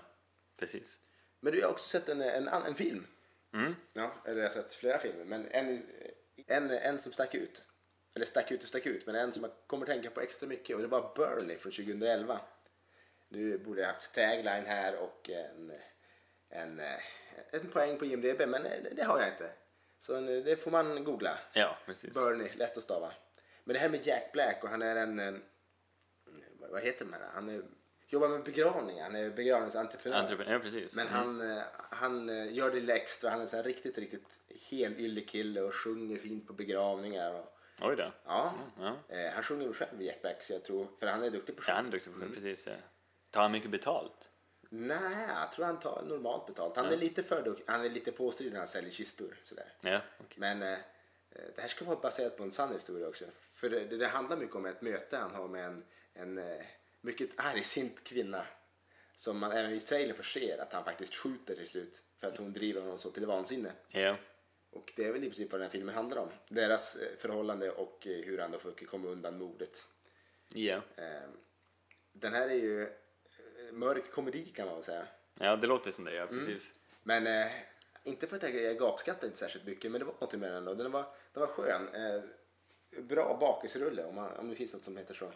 S1: precis.
S2: Men du jag har också sett en, en, ann- en film.
S1: Mm.
S2: Ja, eller jag har sett flera filmer, men en, en, en som stack ut. Eller stack ut och stack ut, men en som jag kommer tänka på extra mycket och det var Burley från 2011. Nu borde jag haft tagline här och en, en, eh, en poäng på IMDB, men eh, det har jag inte. Så eh, det får man googla.
S1: Ja, precis.
S2: Burnley, lätt att stava. Men det här med Jack Black och han är en, eh, vad vad heter man? Han är, jobbar med begravningar, han är begravningsentreprenör.
S1: Entreprenör, ja, precis.
S2: Men han, eh, han eh, gör det lite extra. Han är så här riktigt, riktigt helylle kille och sjunger fint på begravningar. Och,
S1: Oj då.
S2: ja.
S1: Ja.
S2: Eh, han sjunger väl själv Jack Black, så jag tror, för han är duktig på att
S1: Ja,
S2: sjunga.
S1: han är duktig på det, precis. Ja. Tar han mycket betalt?
S2: Nej, jag tror han tar normalt betalt.
S1: Mm.
S2: Han är lite för duktig. Han är lite påstridig när han säljer kistor. Sådär.
S1: Ja, okej.
S2: Men eh, det här ska vara baserat på en sann historia också. För det, det handlar mycket om ett möte han har med en, en eh, mycket argsint kvinna. Som man även i trailern får se att han faktiskt skjuter till slut. För att hon driver honom så till vansinne.
S1: Ja.
S2: Och det är väl i princip vad den här filmen handlar om. Deras eh, förhållande och eh, hur han då försöker komma undan mordet.
S1: Ja.
S2: Eh, Den här är ju eh, mörk komedi kan man väl säga.
S1: ja, det låter som det, ja
S2: Mm.
S1: precis.
S2: Men eh, inte för att jag, jag gapskattar inte särskilt mycket men det var någonting med den då. Den var, den var skön. Eh, bra bakisrulle om, man, om det finns något som heter så.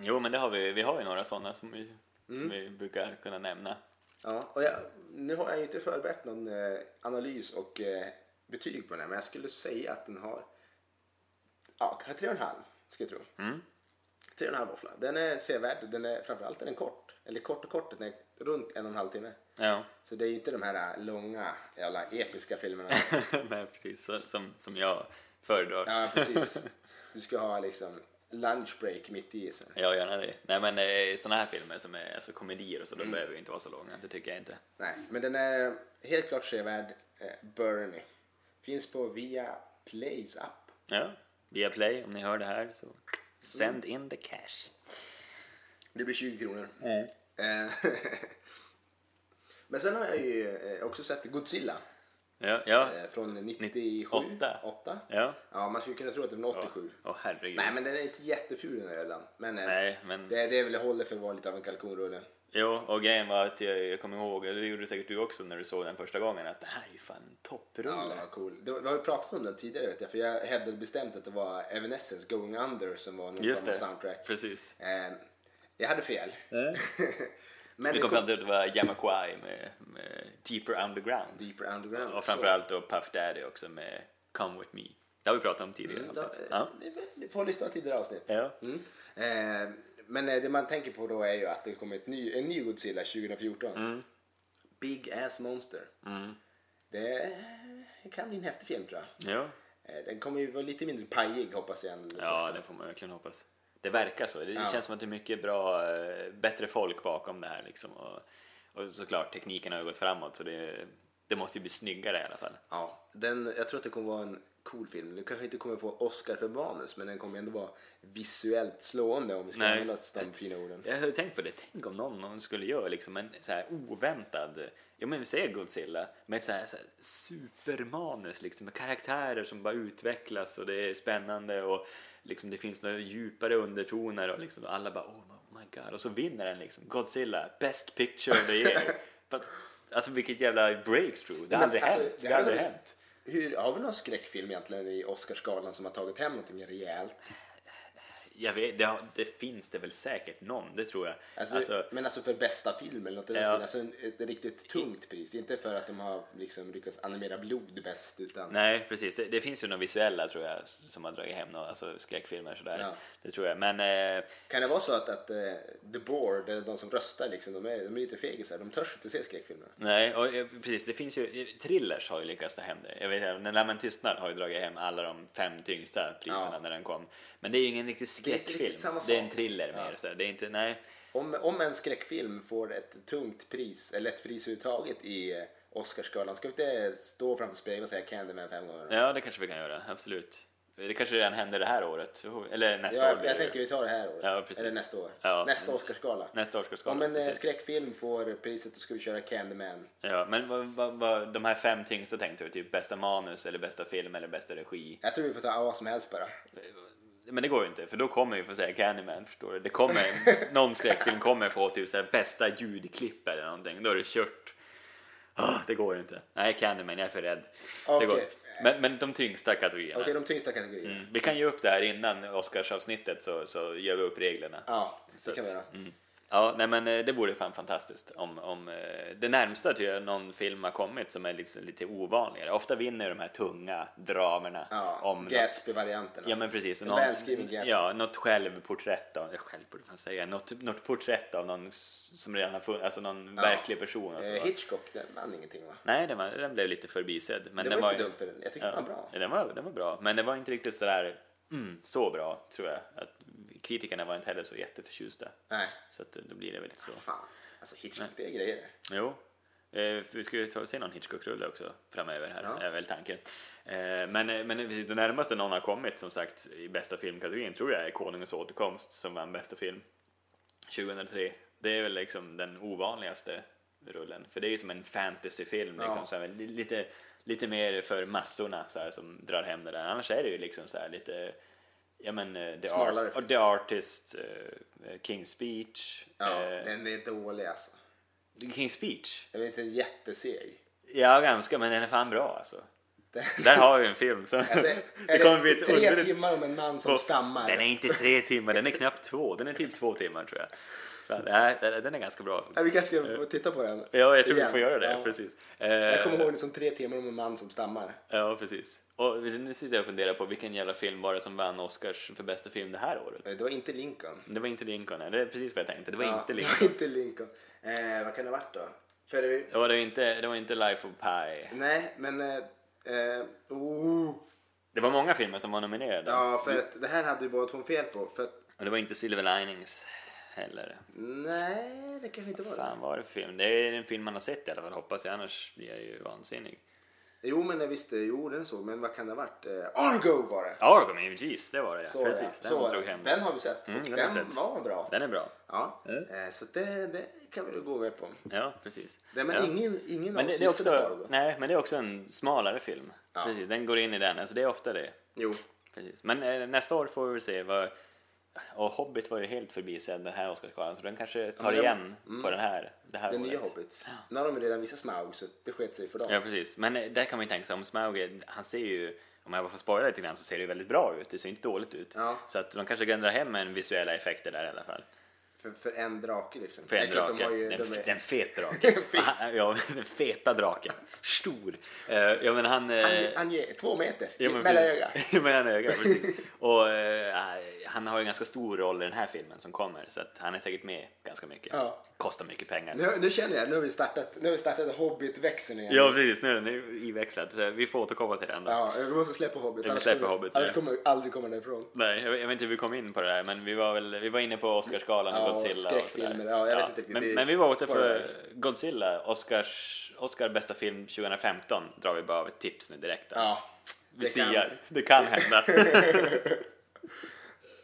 S1: Jo, men det har vi. Vi har ju några sådana som vi,
S2: Mm.
S1: som vi brukar kunna nämna.
S2: Ja, och jag, nu har jag ju inte förberett någon eh, analys och eh, betyg på den här men jag skulle säga att den har ja, kanske tre och en halv skulle jag tro.
S1: Mm.
S2: Tre och en halv våffla. Den är sevärd. Den är, framförallt är den kort. Eller kort och kort, den är runt en och en halv timme.
S1: Ja,
S2: Så det är ju inte de här äh, långa, jävla episka filmerna.
S1: Nej, precis. Så, som, som jag föredrar.
S2: ja, precis. Du ska ha liksom lunch break mitt i sen.
S1: Ja, gärna det. Nej, men eh, såna här filmer som är alltså, komedier och så, då
S2: Mm.
S1: behöver ju inte vara så långa. Det tycker jag inte.
S2: Nej, men den är helt klart sevärd. Eh, Burnie. Finns på via Plays app.
S1: Ja, via Play, om ni hör det här så send
S2: Mm.
S1: in the cash.
S2: Det blir 20 kronor. Eh, men sen har jag ju eh, också sett Godzilla
S1: Ja, ja,
S2: eh, från 97.
S1: Åtta.
S2: Åtta.
S1: ja.
S2: Ja, man skulle kunna tro att det var från 87.
S1: Åh herregud.
S2: Nej, men den är inte jätteful den här ölen. Men, eh,
S1: Nej, men-
S2: det, det är väl det håller för att vara lite av en kalkonrulle.
S1: Jo, och grejen var att jag, jag kommer ihåg, och det gjorde säkert du också när du såg den första gången, att det här är ju fan en
S2: Ja,
S1: topprulle.
S2: vad cool. Det, var- vi har ju pratat om den tidigare vet jag, för jag hävdade bestämt att det var Evanescence Going Under som var någon
S1: Just
S2: form av
S1: det,
S2: soundtrack.
S1: precis.
S2: Eh, jag hade fel.
S1: Mm.
S2: men
S1: Vi
S2: det
S1: kom
S2: kom
S1: fram till att det var Jamiroquai med, med Deeper Underground.
S2: Deeper Underground.
S1: Och framförallt då Puff Daddy också med Come With Me. Det har vi pratat om tidigare.
S2: Så,
S1: avsnitt.
S2: eh,
S1: ja.
S2: ni- Ni får lyssna till tidigare avsnitt.
S1: Ja.
S2: Mm. Eh, men eh, det man tänker på då är ju att det kommer ett ny, en ny Godzilla 2014.
S1: Mm.
S2: Big Ass Monster. Det eh, kan bli en häftig film tror jag.
S1: Ja.
S2: Eh, Den kommer ju vara lite mindre pajig hoppas jag. Än
S1: ja, det får man verkligen hoppas. Det verkar så. Det känns som att det är mycket bra, eh, bättre folk bakom det här liksom. Och, och såklart, tekniken har ju gått framåt så det, det måste ju bli snyggare i alla fall.
S2: Ja, den, jag tror att det kommer vara en cool film. Du kanske inte kommer få Oscar för manus men den kommer ändå vara visuellt slående om vi ska
S1: Nej.
S2: använda oss av de fina orden.
S1: Jag hade tänkt på det, tänk om någon, någon skulle göra liksom en så här oväntad, ja men vi säger Godzilla, med ett så här, så här supermanus liksom med karaktärer som bara utvecklas och det är spännande och liksom det finns några djupare undertoner och liksom alla bara oh my god och så vinner den liksom Godzilla, best picture of the year. But, alltså vilket jävla breakthrough, det
S2: Men
S1: har aldrig
S2: alltså,
S1: hänt,
S2: det
S1: det har
S2: hade
S1: aldrig
S2: varit-
S1: hänt.
S2: Hur, har vi någon skräckfilm egentligen i Oscarsgalan som har tagit hem någonting rejält?
S1: Jag vet, det, har- det finns det väl säkert någon, det tror jag.
S2: Alltså,
S1: Alltså,
S2: men alltså för bästa film eller något i den
S1: Ja.
S2: stilen. Alltså en- ett riktigt tungt pris. Inte för att de har liksom lyckats animera blod bäst utan...
S1: Nej, precis. Det, det finns ju några visuella tror jag s- som har dragit hem några alltså, skräckfilmer sådär.
S2: Ja.
S1: Det tror jag. Men eh,
S2: Kan det vara så att, att eh, the board, eller de som röstar liksom, de är, de är lite fegisar. De törs inte se skräckfilmer.
S1: nej, och, eh, precis. Det finns ju thrillers har ju lyckats ta hem det. Jag vet inte, När lammen tystnar har ju dragit hem alla de fem tyngsta priserna
S2: Ja.
S1: när den kom. Men det är ju ingen riktig
S2: Det är inte
S1: skräckfilm.
S2: riktigt samma
S1: Det är en
S2: sak.
S1: thriller
S2: Ja.
S1: mer. Sådär. Det är inte, nej.
S2: Om, om en skräckfilm får ett tungt pris, eller ett pris överhuvudtaget i eh, Oscarsgalan, ska vi inte stå framför spegeln och säga Candyman fem gånger?
S1: Ja, det kanske vi kan göra. Absolut. Det kanske redan händer det här året. Eller nästa år
S2: jag,
S1: blir
S2: jag
S1: det ju.
S2: tänker vi tar det här året.
S1: Ja, precis.
S2: Eller nästa år.
S1: Ja.
S2: Nästa Oscarsgala.
S1: Nästa Oscarsgala,
S2: Om en eh,
S1: precis.
S2: skräckfilm får priset då ska vi köra Candyman.
S1: Ja, men vad, vad, vad, de här fem tyngsta tänkte du? Typ bästa manus eller bästa film eller bästa regi?
S2: Jag tror vi får ta vad som helst bara.
S1: Men det går ju inte, för då kommer vi få säga Candyman, förstår du? Det kommer, någon skräckfilm kommer få typ så här, bästa ljudklipp eller någonting, då är det kört. Ah, det går ju inte. Nej, Candyman, jag är för rädd. Det
S2: Okej.
S1: går. Men, men de tyngsta kategorierna.
S2: Okej, de tyngsta kategorierna.
S1: Mm. Vi kan ge upp det här innan Oscarsavsnittet så, så gör vi upp reglerna.
S2: Ja,
S1: Så
S2: det kan vi
S1: att-
S2: göra.
S1: Mm. Ja, nej men eh, det vore fan fantastiskt om, om eh, det närmsta till att någon film har kommit som är liksom lite ovanligare. Ofta vinner ju de här tunga dramerna
S2: Ja,
S1: om
S2: Gatsby-varianterna.
S1: Ja men precis.
S2: En välskriven Gatsby.
S1: ja, något självporträtt av, eh, jag självporträtt kan jag säga, något, något porträtt av någon s- som redan har funnits, alltså någon verklig person. Och så.
S2: Eh, Hitchcock, den vann ingenting va?
S1: alltså- Nej, den, var, den blev lite förbisedd. Men
S2: Det
S1: den
S2: var
S1: var
S2: inte
S1: ju-
S2: dumt för den. Jag tycker den var bra.
S1: Ja, den, var, den var bra, men den var inte riktigt sådär, mm, så bra tror jag. Att kritikerna var inte heller så jätteförtjusta.
S2: Nej,
S1: Så att, då blir det väl lite så.
S2: fan. Alltså Hitchcock, det är grejer det.
S1: Jo. Eh, för vi ska ju ta se någon Hitchcock-rulle också framöver här,
S2: Ja.
S1: är väl tanken. Eh, men, men precis, det närmaste någon har kommit som sagt i bästa filmkategorin tror jag är Konungens återkomst som vann bästa film 2003. Det är väl liksom den ovanligaste rullen, för det är ju som en fantasyfilm
S2: Ja.
S1: liksom, så här, li- lite, lite mer för massorna så här, som drar hem det där. Annars är det ju liksom så här lite Ja men eh, The,
S2: Smalare
S1: Art,
S2: film.
S1: och The Artist, eh, King's Speech.
S2: Ja,
S1: eh,
S2: den är dålig alltså.
S1: King's Speech?
S2: Den är inte jätteseg.
S1: Ja ganska men den är fan bra alltså.
S2: Den,
S1: Där har vi en film. Så
S2: alltså är
S1: det
S2: det
S1: kommer bli ett
S2: tre
S1: underligt...
S2: timmar om en man som
S1: på-
S2: stammar.
S1: Den är inte tre timmar, den är knappt två. Den är typ två timmar tror jag. Så, att, nej, den- den är ganska bra. Eh,
S2: Ja, vi kanske ska få titta på den.
S1: Ja, jag tror vi
S2: igen.
S1: får göra det.
S2: Ja.
S1: Precis.
S2: Jag kommer
S1: Eh,
S2: ihåg det som tre timmar om en man som stammar. Eh,
S1: Ja, precis. Och nu sitter jag och funderar på vilken jävla film var det som vann Oscars för bästa film det här året?
S2: Eh, Det var inte Lincoln.
S1: Det var inte Lincoln, nej. det är precis vad jag tänkte. Det var
S2: Ja,
S1: inte
S2: Det
S1: Lincoln.
S2: var inte Lincoln. Eh, vad kan det ha varit då? För det,
S1: Det var, det, inte, det var inte Life of Pi.
S2: nej, men... Eh, eh, oh,
S1: Det var många filmer som var nominerade.
S2: ja, för att det här hade ju båda två fel på. För att,
S1: Och det var inte Silver Linings heller.
S2: nej, det kanske inte var det.
S1: Fan var det för film? Det är en film man har sett i alla fall hoppas jag, annars blir jag ju vansinnig.
S2: Jo, men jag visste, jo den så, men vad kan det ha varit? Eh, Argo var det!
S1: Argo, men givetvis, det var det ja.
S2: Så,
S1: precis,
S2: ja.
S1: den
S2: så,
S1: drog hem.
S2: den har vi sett.
S1: Mm,
S2: och
S1: den har
S2: den,
S1: vi sett.
S2: var bra.
S1: Den är bra.
S2: Ja,
S1: Mm.
S2: eh, så det, det kan vi väl gå med på.
S1: Ja, precis.
S2: Nej, men
S1: ja.
S2: ingen, ingen
S1: Men
S2: av
S1: det,
S2: oss
S1: det, är
S2: visste på
S1: också,
S2: Argo.
S1: nej, men det är också en smalare film.
S2: Ja.
S1: Precis, den går in i den, alltså det är ofta det.
S2: Jo,
S1: Precis. Men eh, nästa år får vi väl se vad... Och Hobbit var ju helt förbisedd den här Oscarsgalan så den kanske tar
S2: men den- mm.
S1: igen på den här, det här
S2: den
S1: året.
S2: nya Hobbit. Nu har de ju redan visat Smaug, så det sket sig för dem.
S1: Ja precis, men eh, där kan man ju tänka sig om Smaug, är- han ser ju, om jag bara får spoila lite grann så ser det ju väldigt bra ut, det ser inte dåligt ut.
S2: Ja.
S1: Så att de kanske kan dra hem en visuella effekter där i alla fall.
S2: För, för en drake liksom.
S1: För
S2: Det
S1: en
S2: är klart,
S1: drake,
S2: De har ju,
S1: den,
S2: de är,
S1: den feta draken. Ah, ja, den feta draken. Stor. Eh, ja men han... eh,
S2: han, han ger två meter
S1: Ja, men
S2: mellan
S1: precis.
S2: ögat.
S1: Ja, mellan ögat, precis. Och eh, han har ju en ganska stor roll i den här filmen som kommer så att han är säkert med ganska mycket.
S2: Ja.
S1: Kostar mycket pengar.
S2: Nu, nu känner jag, nu har vi startat, nu har vi startat Hobbit-växeln igen.
S1: Ja precis, nu är den ju iväxlad. Så Vi får återkomma till den då.
S2: Ja, vi måste släppa Hobbit.
S1: Vi
S2: annars
S1: släpper
S2: kommer-
S1: Hobbit nu.
S2: Annars kommer vi aldrig komma därifrån.
S1: Nej, jag vet jag vet inte hur vi kom in på det där men vi var, väl, vi var inne på Oscarsgalan och
S2: Ja, och
S1: Godzilla och
S2: skräckfilmer.
S1: sådär.
S2: Ja, jag vet inte riktigt.
S1: men,
S2: Det-
S1: men vi var åter
S2: bara
S1: för
S2: det.
S1: Godzilla, Oscars, Oscar bästa film 2015 drar vi bara av ett tips nu direkt. där.
S2: Ja.
S1: vi
S2: det kan-
S1: siar, det kan hända.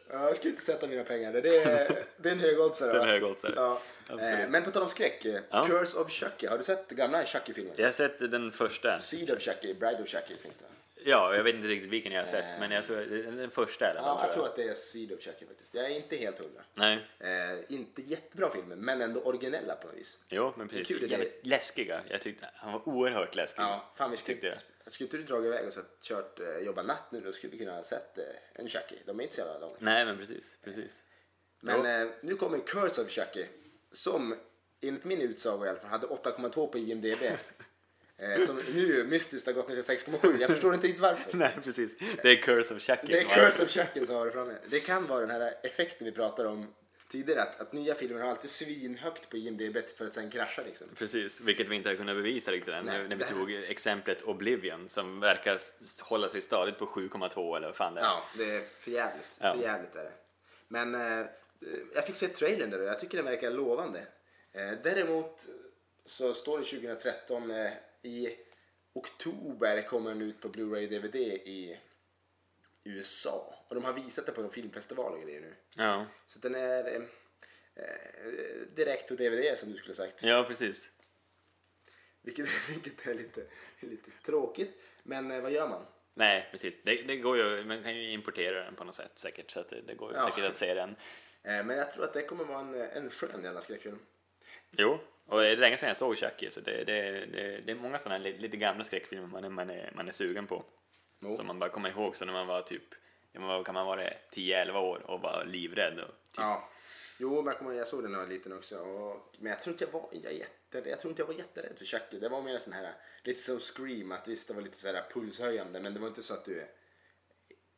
S2: Ja, Jag skulle inte sätta mina pengar där. Det är, det är en hög oddsare.
S1: Den
S2: va?
S1: höga oddsare.
S2: Ja.
S1: Absolut.
S2: Eh, Men på tal om skräck, eh,
S1: Ja.
S2: Curse of Chucky. Har du sett gamla Chucky-filmen?
S1: Jag har sett den första.
S2: Seed of Chucky, Bride of Chucky finns det.
S1: Ja, jag vet inte riktigt vilken jag har sett,
S2: Eh.
S1: men jag tror, den första i alla fall.
S2: Ja, jag tror att det är Seed of Chucky faktiskt. Jag är inte helt hundra.
S1: Nej,
S2: Eh, inte jättebra filmer, men ändå originella på något vis.
S1: jo, men precis.
S2: Det är kul, det
S1: Jävligt läskiga. Jag tyckte han var oerhört läskig.
S2: Ja, fan vi
S1: Tyckte
S2: skulle,
S1: jag.
S2: Typ, skulle inte du dra iväg och så att kört eh, jobba natt nu då skulle vi kunna ha sett eh, en Chucky. De är inte så jävla långa.
S1: Nej, men precis. precis.
S2: Men eh, nu kommer Curse of Chucky som enligt min utsago i alla fall hade 8,2 på IMDB. eh, som nu mystiskt har gått ner till 6,7. Jag förstår inte riktigt varför.
S1: Nej, precis. Det är Curse of Chucky.
S2: Det är
S1: som har-
S2: Curse of Chucky som har det framme. Det kan vara den här effekten vi pratade om tidigare att, att nya filmer har alltid svinhögt på IMDB för att sen krascha liksom.
S1: Precis, vilket vi inte har kunnat bevisa riktigt än.
S2: Nej,
S1: nu när vi
S2: det-
S1: tog exemplet Oblivion som verkar s- hålla sig stadigt på 7,2 eller vad fan det är.
S2: Ja, det är för jävligt.
S1: Ja.
S2: För jävligt är det. Men eh, jag fick se trailern där och jag tycker den verkar lovande. Eh, däremot så står det 2013 eh, i oktober kommer den ut på Blu-ray DVD i USA. Och de har visat det på en filmfestival och grejer nu.
S1: Ja.
S2: Så den är eh, eh, direkt på DVD som du skulle ha sagt.
S1: ja, precis.
S2: Vilket, vilket är lite, lite tråkigt. Men eh, vad gör man?
S1: Nej, precis. Det, det går ju, man kan ju importera den på något sätt säkert, så att det, det går ju
S2: Ja.
S1: säkert att se den.
S2: Eh, men jag tror att det kommer vara en, en skön jävla skräckfilm.
S1: Jo, och det är länge sedan jag såg Chucky så det, det, det, det är många sådana lite, lite gamla skräckfilmer man är, man är, man är sugen på.
S2: Jo.
S1: Som man bara kommer ihåg så när man var typ, ja, men vad kan man vara det, 10-11 år och var livrädd. Och typ,
S2: Ja. Jo, men jag, kommer ihåg, jag såg den när jag var liten också. Och, men jag tror inte jag var, jag är jätte, jag tror inte jag var jätterädd för Chucky. Det var mer sån här, lite som Scream, att visst det var lite så här pulshöjande men det var inte så att du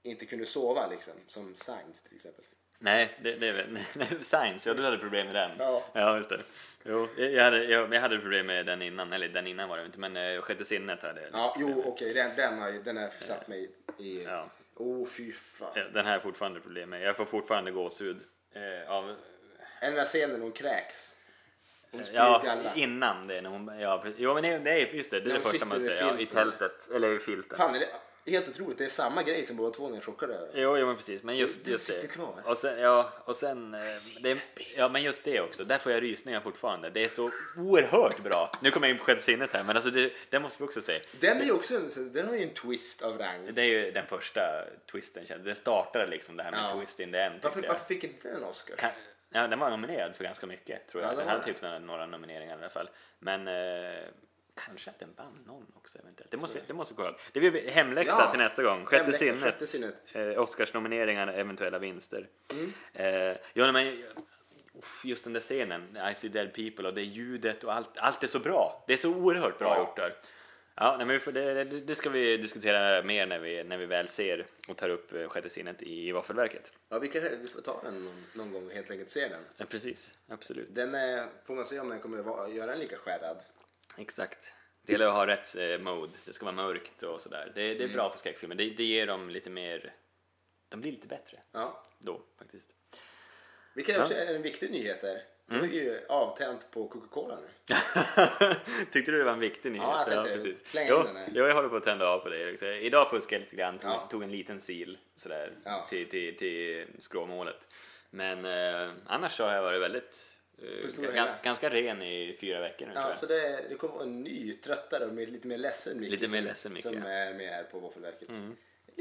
S2: inte kunde sova liksom. Som Signs till exempel.
S1: Nej, det, det är väl, nej, Science, ja du hade problem med den.
S2: Ja.
S1: just det. Jo, jag- jag hade, jag, jag hade problem med den innan, eller den innan var det inte, men eh, sjätte sinnet hade jag.
S2: Ja, jo okej, den, den har ju, den har satt mig i...
S1: Ja.
S2: Oh fy fan.
S1: Ja, Den här är fortfarande problem med. Jag får fortfarande gåshud. Eh, av,
S2: En där scenen hon kräks. Hon spyr
S1: ja,
S2: galla.
S1: innan det. När hon, ja, precis. jo, men det, det är just det, det är
S2: När
S1: det
S2: hon
S1: första
S2: sitter
S1: man
S2: i
S1: säger. Ja, I
S2: filten.
S1: tältet, eller i filten.
S2: Fan är det, Helt otroligt, det är samma grej som båda två ni är chockade över.
S1: Jo, jo men precis. Men just,
S2: Du- du
S1: just det.
S2: sitter kvar.
S1: Och sen, ja, och sen eh, det, ja, men just det också. Där får jag rysningar fortfarande. Det är så oerhört bra. Nu kommer jag in på sjätte sinnet här, men alltså det, det måste vi också se.
S2: Den är ju också en, så- den har ju en twist av rang.
S1: Det är ju den första twisten. känns- Den startade liksom det här med
S2: Ja.
S1: twist in the end. tyckte
S2: Varför,
S1: jag.
S2: varför fick inte den en Oscar?
S1: Kan- Ja, den var nominerad för ganska mycket tror jag.
S2: Ja, den
S1: den hade
S2: var det.
S1: typ några- några nomineringar i alla fall. Men eh, kanske att den vann någon också eventuellt. Det måste, vi- det måste vi kolla upp. Det blir hemläxa
S2: Ja,
S1: till nästa gång. Sjätte
S2: hemläxa,
S1: sinnet.
S2: sjätte sinnet. Mm.
S1: Eh, Oscarsnomineringar, eventuella vinster. Eh, ja, men, uff, just den där scenen, I see dead people och det ljudet och allt. Allt är så bra. Det är så oerhört bra
S2: Ja.
S1: gjort där. Ja, nej, men vi får, det, det det ska vi diskutera mer när vi, när vi väl ser och tar upp eh, sjätte sinnet i våffelverket.
S2: Ja, vi, kanske, vi får ta den någon, någon gång och helt enkelt se den.
S1: Ja, precis, absolut.
S2: Den är, får man se om den kommer vara, göra en lika skärrad.
S1: Exakt. Det gäller att ha rätt eh, mode. Det ska vara mörkt och sådär. Det,
S2: Mm.
S1: det är bra för skräckfilmer. Det, det ger dem lite mer... De blir lite bättre
S2: Ja.
S1: då faktiskt.
S2: Vilket också är en viktig nyhet där. De
S1: Mm.
S2: är ju avtänt på Coca-Cola nu.
S1: Tyckte du det var en viktig nyhet?
S2: jag tänkte slänga in
S1: jo,
S2: den här.
S1: jo, jag håller på att tända av på dig. Liksom. Idag fuskade jag lite grann. Tog,
S2: Ja.
S1: tog en liten sil sådär
S2: Ja.
S1: till, till, till skråmålet. Men eh, annars så har jag varit väldigt... eh,
S2: det stora
S1: ga-
S2: hela.
S1: ganska ren i fyra veckor nu tror
S2: Ja,
S1: jag.
S2: så det, det kommer vara en ny, tröttare och med lite mer ledsen Micke.
S1: Lite
S2: som-
S1: mer ledsen Micke,
S2: Som
S1: ja.
S2: är med här på Våffelverket. Lite,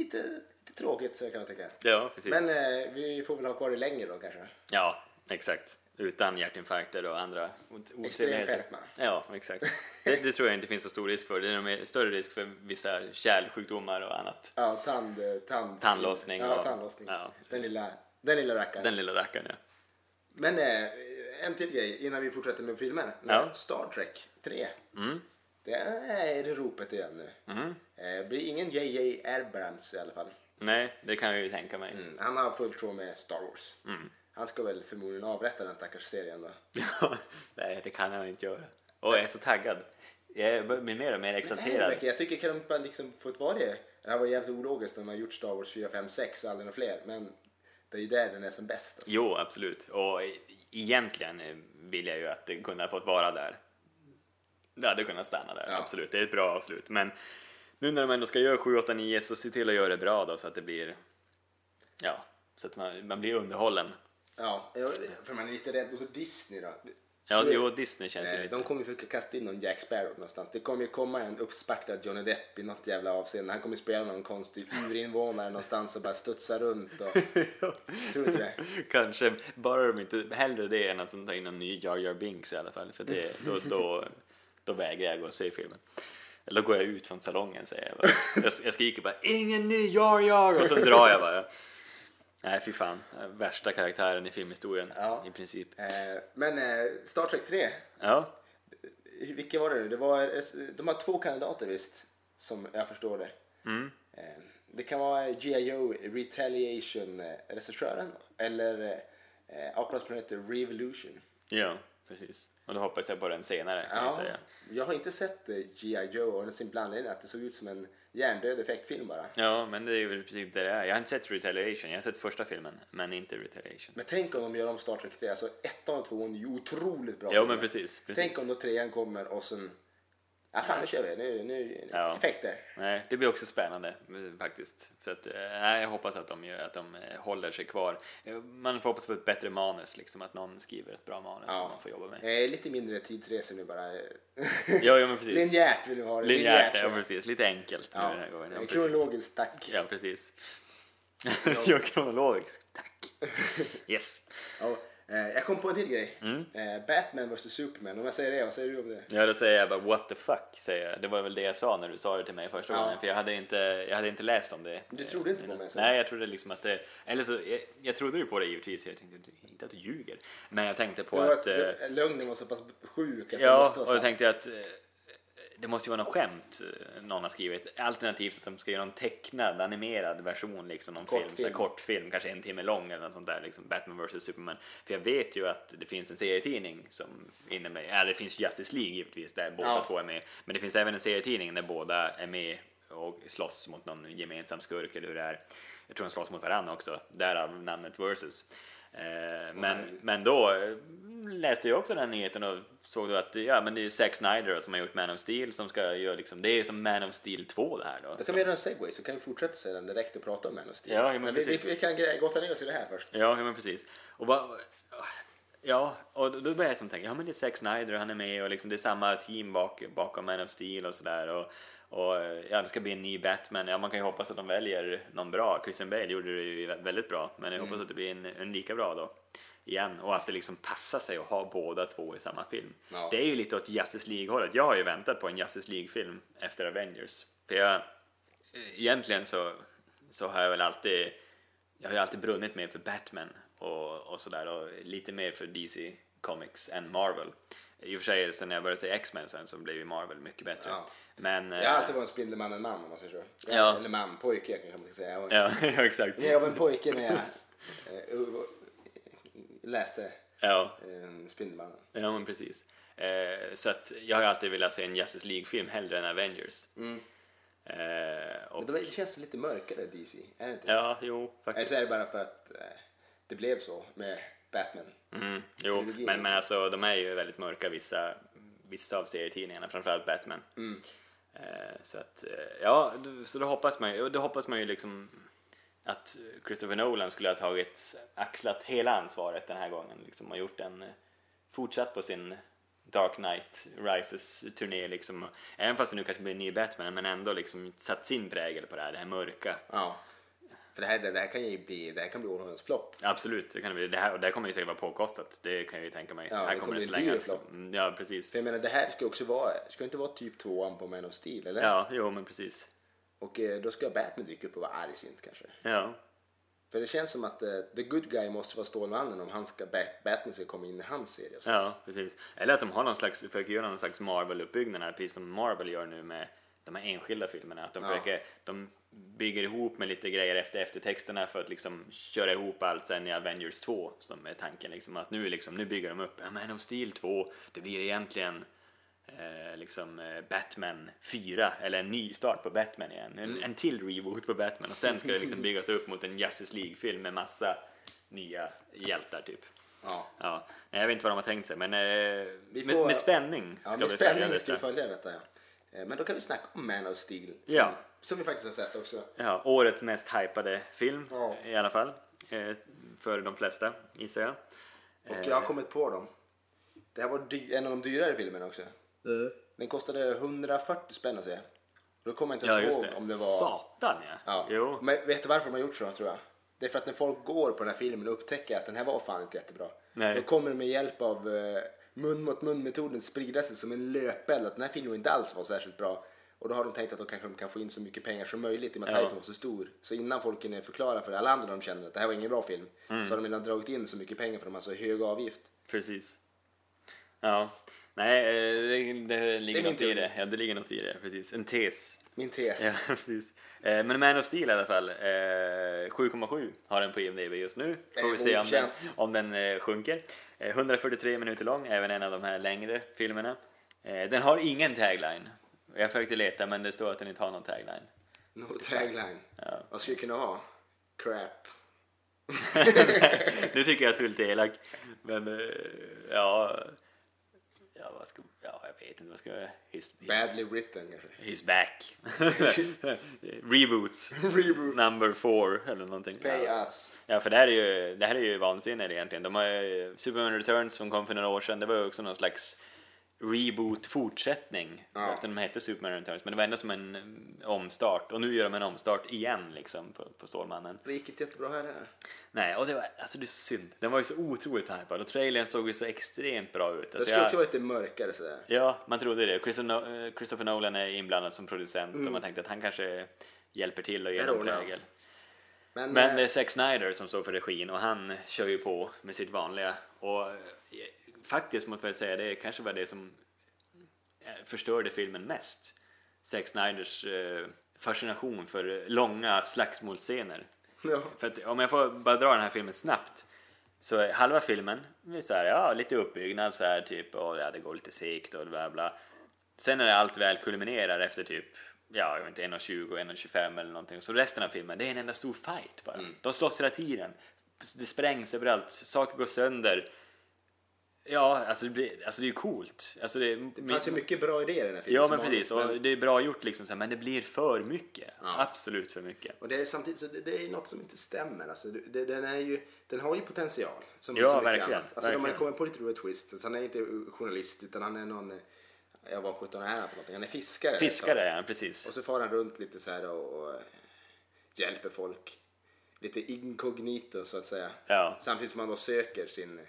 S2: lite tråkigt så kan jag tycka.
S1: Ja, precis.
S2: Men eh, vi får väl ha kvar det längre då kanske.
S1: Ja, exakt. Utan hjärtinfarkter och andra ot- otrevligheter.
S2: fetma.
S1: Ja, exakt. Det, det tror jag inte finns så stor risk för. Det är nog mer- större risk för vissa kärlsjukdomar och annat.
S2: Ja, tand, eh, tand,
S1: Tandlossning
S2: Ja,
S1: och-
S2: tandlossning.
S1: ja.
S2: Den lilla, den lilla rackaren.
S1: Den lilla rackaren, ja.
S2: Men eh, en till grej innan vi fortsätter med filmen.
S1: Ja.
S2: Star Trek 3.
S1: Mm,
S2: Det är det ropet igen nu. Eh, det blir ingen JJ Abrams i alla fall.
S1: Nej, det kan jag ju tänka mig.
S2: Mm, Han har fullt sjå med Star Wars. Han ska väl förmodligen avrätta den stackars serien då.
S1: Nej, det kan jag inte göra. Och jag är så taggad. Jag börjar bli mer och mer
S2: Nej,
S1: exalterad.
S2: verkligen. Eh, Jag tycker kan de bara liksom fått vara det. Det har varit jävligt ologiskt när man har gjort Star Wars 4, 5, 6 och aldrig några fler. Men det är ju där den är som bäst. Alltså.
S1: Jo, absolut. Och e- egentligen eh, vill jag ju att det kunde ha fått vara där. Det hade kunnat stanna där,
S2: Ja.
S1: absolut. Det är ett bra avslut. Men nu när de ändå ska göra 7, 8, 9 så se till att göra det bra då så att det blir... Ja, så att man, man blir underhållen.
S2: Ja, jag- för man är lite rädd. Och så Disney då.
S1: Ja,
S2: Så-
S1: jo, Disney känns ju
S2: Eh,
S1: lite...
S2: De kommer ju försöka kasta in någon Jack Sparrow någonstans. Det kommer ju komma en uppsparkad Johnny Depp i något jävla avseende. Han kommer ju spela någon konstig urinvånare någonstans och bara studsa runt. Och... Tror du inte det?
S1: Kanske, bara de inte... Hellre det än att de tar in en ny Jar Jar Binks i alla fall. För det, då, då, då vägrar jag gå och se filmen. Eller då går jag ut från salongen säger jag bara. Jag, jag skriker bara ingen ny Jar Jar och så drar jag bara. Nej fy fan, värsta karaktären i filmhistorien
S2: Ja.
S1: i princip.
S2: Eh, Men eh, Star Trek 3,
S1: Ja,
S2: vilka var det nu? Det var, eh, de har två kandidater visst, som jag förstår det.
S1: Mm.
S2: Eh, Det kan vara G.I.O. Retaliation eh, regissören eller eh, Operas planet Revolution.
S1: ja precis. Och då hoppas jag på den senare kan jag säga.
S2: jag har inte sett eh, G.I. Joe av den simpla anledningen att det såg ut som en hjärndöd effektfilm bara.
S1: Ja, men det är väl i princip det det är. Jag har inte sett Retaliation, jag har sett första filmen, men inte Retaliation.
S2: Men tänk om de gör om Star Trek 3, alltså ettan och tvåan är ju otroligt bra.
S1: Ja,
S2: filmer.
S1: men precis, precis.
S2: Tänk om då trean kommer och sen, ja fan nu kör vi, nu, nu
S1: Ja.
S2: effekter.
S1: Nej, det blir också spännande eh, faktiskt. För att, eh, nej, jag hoppas att de, gör, att de eh, håller sig kvar. Eh, Man får hoppas på ett bättre manus, liksom, att någon skriver ett bra manus som Alltså, man får jobba med.
S2: Eh, lite mindre tidsresor nu bara.
S1: Ja, ja men precis.
S2: Linjärt vill vi ha det.
S1: Linjärt, ja
S2: så.
S1: precis. Lite enkelt nu
S2: Ja. Eh,
S1: den här gången. Ja, precis.
S2: Kronologiskt, tack.
S1: Ja, precis. ja, kronologiskt. Tack. Yes.
S2: Ja, eh, jag kom på en till grej.
S1: Mm.
S2: Eh, Batman vs Superman, om jag säger det, vad säger du om det?
S1: Ja, då säger jag bara what the fuck, säger jag. Det var väl det jag sa när du sa det till mig första
S2: Ja.
S1: gången, för jag hade, inte, jag hade inte läst om det.
S2: Du trodde inte på mig, så?
S1: Nej, jag trodde liksom att det... Eller så, jag, jag trodde ju på det givetvis, jag tänkte inte att du ljuger. Men jag tänkte på
S2: Det var
S1: att...
S2: att,
S1: eh,
S2: eh, lögnen var så pass sjuk att det
S1: Ja,
S2: måste
S1: och då
S2: vara sant.
S1: tänkte jag att eh, det måste ju vara något skämt eh, någon har skrivit. Alternativt att de ska göra en tecknad, animerad version, liksom någon
S2: Kortfilm.
S1: film, så här, kortfilm, kanske en timme lång eller något sånt där, liksom Batman vs Superman. För jag vet ju att det finns en serietidning som inne med, ja det finns ju Justice League givetvis där båda
S2: Ja.
S1: två är med, men det finns även en serietidning där båda är med och slåss mot någon gemensam skurk eller hur det är. Jag tror de slåss mot varandra också, därav namnet Versus. Eh, Eh, men, men då eh, läste jag också den här nyheten och såg då att ja, men det är Zack Snyder då, som har gjort Man of Steel som ska göra liksom, det är som Man of Steel 2 det här då.
S2: Då kan vi göra en segway så kan vi fortsätta sedan direkt och prata om Man of Steel.
S1: Ja, ja, men
S2: vi, vi,
S1: precis.
S2: vi kan grä- gotta ner oss i det här först.
S1: Ja, ja men precis. Och bara, ja, och då då började jag som tänka, ja men det är Zack Snyder och han är med och liksom det är samma team bak, bakom Man of Steel och sådär och, och ja, det ska bli en ny Batman. Ja, man kan ju hoppas att de väljer någon bra. Christian Bale gjorde det ju vä- väldigt bra, men jag hoppas att det blir en, en lika bra då. Igen, och att det liksom passar sig att ha båda två i samma film.
S2: Ja.
S1: Det är ju lite åt Justice League-hållet. Jag har ju väntat på en Justice League-film efter Avengers. För jag, egentligen så, så har jag väl alltid jag har ju alltid brunnit mer för Batman och, och sådär och lite mer för DC Comics än Marvel. I och för sig sen när jag började säga X-Men sen så blev ju Marvel mycket bättre.
S2: Ja.
S1: Men...
S2: Jag har alltid varit en Spindelmannen-man om man säger så.
S1: Ja.
S2: Eller man, pojke kanske man ska säga. Jag var,
S1: Ja, eh, ja exakt.
S2: jag var en pojke när jag eh, u- läste
S1: Ja,
S2: eh, Spindelmannen.
S1: ja men precis. Eh, så att jag har ju alltid velat se en Justice League-film hellre än Avengers. Eh, och,
S2: Mm. Men det känns lite mörkare DC, är det inte?
S1: ja, jo faktiskt.
S2: Eller så är det bara för att eh, det blev så med Batman.
S1: Mm, jo,
S2: Trilogin
S1: men,
S2: också.
S1: men alltså de är ju väldigt mörka vissa, vissa av serietidningarna, framförallt Batman.
S2: Mm.
S1: Eh, så att, eh, ja, du- så då hoppas man ju, och då hoppas man ju liksom att Christopher Nolan skulle ha tagit, axlat hela ansvaret den här gången liksom och gjort en, eh, fortsatt på sin Dark Knight Rises-turné liksom. Och Även fast det nu kanske blir en ny Batman, men ändå liksom satt sin prägel på det här, det här mörka.
S2: Ja. För det här, det här kan ju bli, det här kan bli århundradets flopp.
S1: Absolut, det kan det bli. Det här, och det här kommer ju säkert vara påkostat, det kan jag ju tänka mig.
S2: Ja,
S1: här
S2: det
S1: kommer det
S2: kommer bli en dyr
S1: slängas.
S2: flopp.
S1: Mm, Ja, precis.
S2: För jag menar det här ska också vara, ska inte vara typ tvåan på Man of Steel eller?
S1: Ja, jo men precis.
S2: Och eh, då ska Batman dyka upp och vara arg sint kanske.
S1: Ja,
S2: För det känns som att eh, the good guy måste vara Stålmannen om han ska, Bat- Batman ska komma in i hans serie. och sånt.
S1: ja precis. Eller att de har någon slags, försöker göra någon slags Marvel-uppbyggnad här, precis som Marvel gör nu med de här enskilda filmerna. Att de,
S2: Ja.
S1: försöker, de bygger ihop med lite grejer efter eftertexterna för att liksom köra ihop allt sen i Avengers 2 som är tanken. Liksom, att nu, liksom, nu bygger de upp, ja, Man of Steel 2, det blir egentligen eh, liksom eh, Batman 4 eller en ny start på Batman igen. En, en till reboot på Batman och sen ska det liksom byggas upp mot en Justice League-film med massa nya hjältar typ.
S2: Ja.
S1: Ja, nej, jag vet inte vad de har tänkt sig men eh, med,
S2: får-
S1: med spänning ska
S2: Ja, med
S1: vi följa
S2: spänning ska vi
S1: detta.
S2: följa detta ja. Eh, Men då kan vi snacka om Man of Steel. Som,
S1: Ja.
S2: som vi faktiskt har sett också.
S1: Ja, årets mest hypade film
S2: Ja.
S1: i alla fall. Eh, för de flesta gissar jag.
S2: Och jag har kommit på dem. Det här var dy- en av de dyrare filmerna också.
S1: Eh.
S2: Den kostade 140 spänn att se. Då kommer jag inte
S1: Ja
S2: ens
S1: just
S2: ihåg
S1: det.
S2: om det var...
S1: Satan ja.
S2: Ja.
S1: Jo.
S2: Men vet du varför de har gjort så tror jag? Det är för att när folk går på den här filmen och upptäcker att den här var fan inte jättebra.
S1: Nej.
S2: Då kommer de med hjälp av eh, mun mot mun metoden sprida sig som en löpeld att den här filmen inte alls var särskilt bra. Och då har de tänkt att de kanske kan få in så mycket pengar som möjligt i och med att
S1: Ja.
S2: hypen var så stor. Så innan folk hinner förklara för alla andra de känner att det här var ingen bra film
S1: Mm.
S2: så har de redan dragit in så mycket pengar för de har så hög avgift.
S1: Precis. Ja. Nej, eh, det, det ligger
S2: min
S1: något i
S2: teori.
S1: det. Ja, det ligger något i det. Precis. En tes.
S2: Min tes.
S1: Ja, precis. Eh, Men Man of Steel i alla fall. eh, 7,7 har den på IMDB just nu.
S2: Det är
S1: Får vi se om den,
S2: godkänt.
S1: om den eh, sjunker. Eh, 143 minuter lång, även en av de här längre filmerna. Eh, Den har ingen tagline. Jag försökte leta men det står att den inte har någon tagline.
S2: No tagline. Vad skulle jag kunna ha? Crap.
S1: Nu tycker jag att du är lite elak. Men eh, ja... Ja, vad ska, ja jag vet inte vad ska jag... His, his,
S2: Badly written kanske.
S1: he's back. Reboot.
S2: Reboot.
S1: Number four eller någonting.
S2: Pay
S1: Ja.
S2: us.
S1: Ja, för det här är ju, det här är ju vansinnigt egentligen. De har ju Superman Returns som kom för några år sedan, det var ju också någon slags reboot, fortsättning.
S2: Ja.
S1: Efter de hette Superman Returns, men det var ändå som en mm, omstart. Och nu gör de en omstart igen liksom på, på Stålmannen.
S2: Det gick inte jättebra här heller.
S1: Nej, och det var, alltså det är så synd. Den var ju så otroligt hypad och trailern såg ju så extremt bra ut.
S2: Det
S1: Alltså,
S2: skulle
S1: jag,
S2: också vara lite mörkare sådär.
S1: Ja, man trodde det. Christopher No- eh, Christopher Nolan är inblandad som producent och man tänkte att han kanske hjälper till och ger en
S2: Där Mm. ordnar han.
S1: prägel.
S2: Men,
S1: Men
S2: eh,
S1: det är Zack Snyder som står för regin och han kör ju på med sitt vanliga. Och eh, faktiskt måste jag säga det kanske var det som eh, förstörde filmen mest. Zack Snyders eh, fascination för långa slagsmålscener.
S2: ja,
S1: För att, om jag får bara dra den här filmen snabbt. Så är halva filmen, det är så här, ja, lite uppbyggnad så här typ och ja, det går lite segt och bla bla. Sen när allt väl kulminerar efter typ, ja jag vet
S2: Mm.
S1: inte, 1.20, 1.25 eller någonting. Så resten av filmen, det är en enda stor fight bara. De slåss hela tiden. det sprängs överallt, saker går sönder. Ja, alltså det, blir, alltså det är ju coolt. Alltså det,
S2: Det fanns ju mycket bra idéer i den här filmen.
S1: Ja
S2: som
S1: men
S2: vanligt,
S1: precis, och det är bra gjort liksom så här, men det blir för mycket.
S2: Ja.
S1: Absolut för mycket.
S2: Och det är samtidigt så det, det är något som inte stämmer. Alltså, det, det, den, är ju, den har ju potential. Som
S1: Ja,
S2: så mycket
S1: verkligen,
S2: annat. Alltså, de har ju
S1: verkligen.
S2: kommit på lite roliga twists. Så han är inte journalist utan han är någon, eh, jag var 17 är han för någonting? Han är fiskare.
S1: Fiskare är han, precis.
S2: Och så far han runt lite så här och, och hjälper folk. Lite inkognito så att säga.
S1: Ja.
S2: Samtidigt som han då söker sin eh,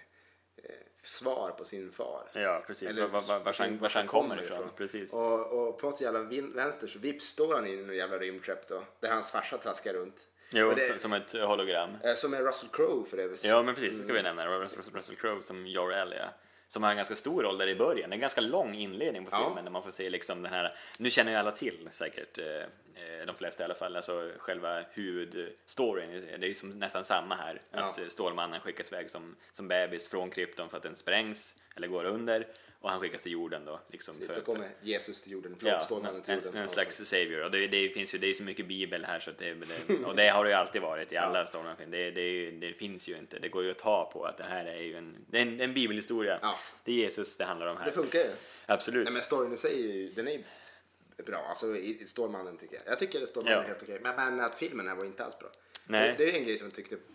S2: svar på sin far.
S1: Ja, precis.
S2: Eller
S1: Var, var, var, vars han, vars han kommer ifrån. Precis.
S2: Och, och på något jävla vin- vänster så vips står han in i en jävla rymdskepp då. Där hans farsa traskar runt.
S1: Jo,
S2: Och det-
S1: som- som ett hologram.
S2: eh, Som är Russell Crowe för Mm. övrigt.
S1: Ja, men precis, det ska vi nämna. Det var Russell, Russell Crowe som Jor-El, ja. Som har en ganska stor roll där i början. Det är en ganska lång inledning på
S2: Ja.
S1: filmen där man får se liksom den här, nu känner ju alla till säkert, eh, eh, de flesta i alla fall, alltså själva huvudstoryn. Det är ju som, nästan samma här,
S2: Ja.
S1: att eh, Stålmannen skickas iväg som, som bebis från krypton för att den sprängs, eller går under, och han skickas till jorden då. Liksom,
S2: Precis,
S1: för
S2: Då
S1: att-
S2: kommer Jesus till jorden. Förlåt, Stålmannen till
S1: en,
S2: jorden.
S1: en, en slags savior. Och det, det finns ju det är så mycket bibel här så att det, det, och det har det ju alltid varit i alla Stålmannen-filmer. Det, det, är ju- det finns ju inte. Det går ju att ta på att det här är ju en, det är en, en bibelhistoria.
S2: Ja.
S1: Det är Jesus det handlar om
S2: Det
S1: här.
S2: funkar ju.
S1: Absolut.
S2: Nej men storyn i sig är ju, den är ju bra. Alltså i- i Stålmannen tycker jag. Jag tycker att Stålmannen
S1: Ja.
S2: är helt okej. Men, men att filmen här var inte alls bra.
S1: Nej.
S2: Det, det är en grej som jag tyckte, mm,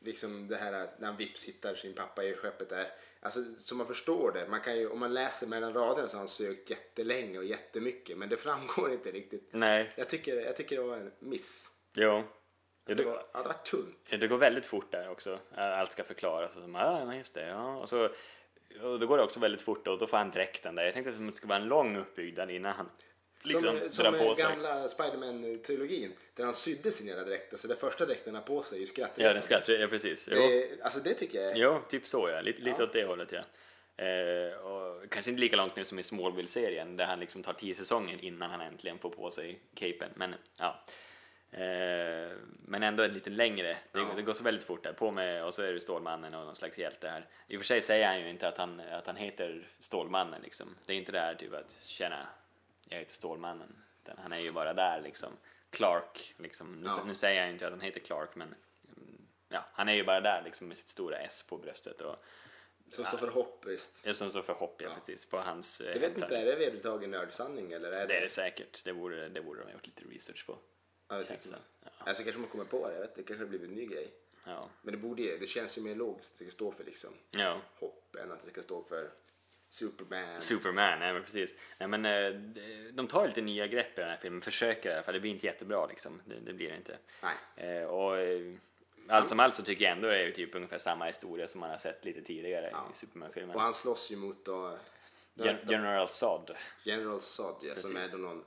S2: liksom det här att när han vips hittar sin pappa i skeppet där. Alltså så man förstår det. Man kan ju, om man läser mellan raderna så har han sökt jättelänge och jättemycket. Men det framgår inte riktigt.
S1: Nej,
S2: Jag tycker, jag tycker det var en miss.
S1: jo. Ja,
S2: Det
S1: det,
S2: var, ja, det var tunt.
S1: det går väldigt fort där också. Allt ska förklaras och så, ja, men just det, ja. Och så och då går det också väldigt fort och då får han dräkten där. Jag tänkte att det skulle vara en lång uppbyggnad innan han liksom
S2: som
S1: drar
S2: som
S1: på
S2: eh,
S1: sig.
S2: gamla Spiderman-trilogin. Där han sydde sin jävla dräkt. Alltså den första dräkten han har på sig är ju skrattretande.
S1: Ja, den skrattar, ja precis. Jo.
S2: Det, alltså det tycker jag är...
S1: Ja, typ så ja. Lite, lite åt det hållet ja. Eh, och kanske inte lika långt nu som i Smallville-serien där han liksom tar tio säsonger innan han äntligen får på sig capen. Men ja. Eh, men ändå lite längre. Det,
S2: Ja.
S1: det går så väldigt fort där. På med, och så är det Stålmannen och någon slags hjälte här. I och för sig säger han ju inte att han, att han heter Stålmannen liksom. Det är inte det här typ att känna jag heter Stålmannen. Utan han är ju bara där liksom. Clark liksom. Nu,
S2: Ja.
S1: nu säger jag ju inte att han heter Clark men mm, ja, han är ju bara där liksom med sitt stora S på bröstet och
S2: Som står för hopp, visst.
S1: det som står för hopp ja, precis på hans eh,
S2: Jag vet inte,
S1: hemplanet.
S2: är det vedertagen nördsanning eller? Är
S1: det är det säkert. Det borde, det borde de ha gjort lite research på.
S2: Ja, det tycker
S1: Känslan.
S2: jag. Alltså kanske man kommer på det, jag vet, det kanske har blivit en ny grej.
S1: Ja.
S2: Men det borde ju, det känns ju mer logiskt att det ska stå för liksom
S1: ja.
S2: hopp än att det ska stå för Superman.
S1: Superman, nej men precis. Nej, men, eh, de- de tar lite nya grepp i den här filmen, försöker i alla fall. Det blir inte jättebra liksom, det, det blir det inte.
S2: Nej.
S1: Eh, och, eh, allt som allt så tycker jag ändå det är ju typ ungefär samma historia som man har sett lite tidigare i
S2: Och
S1: Superman-filmen.
S2: han slåss ju mot då
S1: Gen- General Zod.
S2: General Zod ja, som är
S1: Precis.
S2: då någon...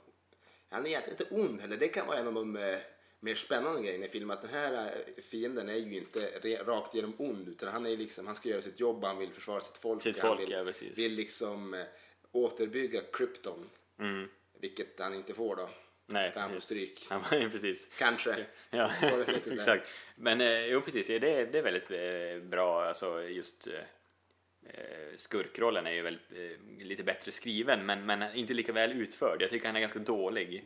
S2: Han är egentligen inte ond heller, det kan vara en av de eh, mer spännande grejerna i filmen. Att den här eh, fienden är ju inte re, rakt igenom ond utan han är ju liksom, han ska göra sitt jobb, han vill försvara sitt folk.
S1: Sitt
S2: han
S1: folk,
S2: vill,
S1: ja, precis.
S2: vill liksom eh, återbygga Krypton. Vilket han inte får då.
S1: Mm. Nej,
S2: Utan han får
S1: precis.
S2: stryk.
S1: Han var ju precis.
S2: Kanske.
S1: Ja,
S2: Spara sig till det.
S1: exakt. Men eh, jo, precis. Det, det är väldigt eh, bra, alltså just eh, eh, skurkrollen är ju väldigt, eh, lite bättre skriven, men, men inte lika väl utförd. Jag tycker han är ganska dålig.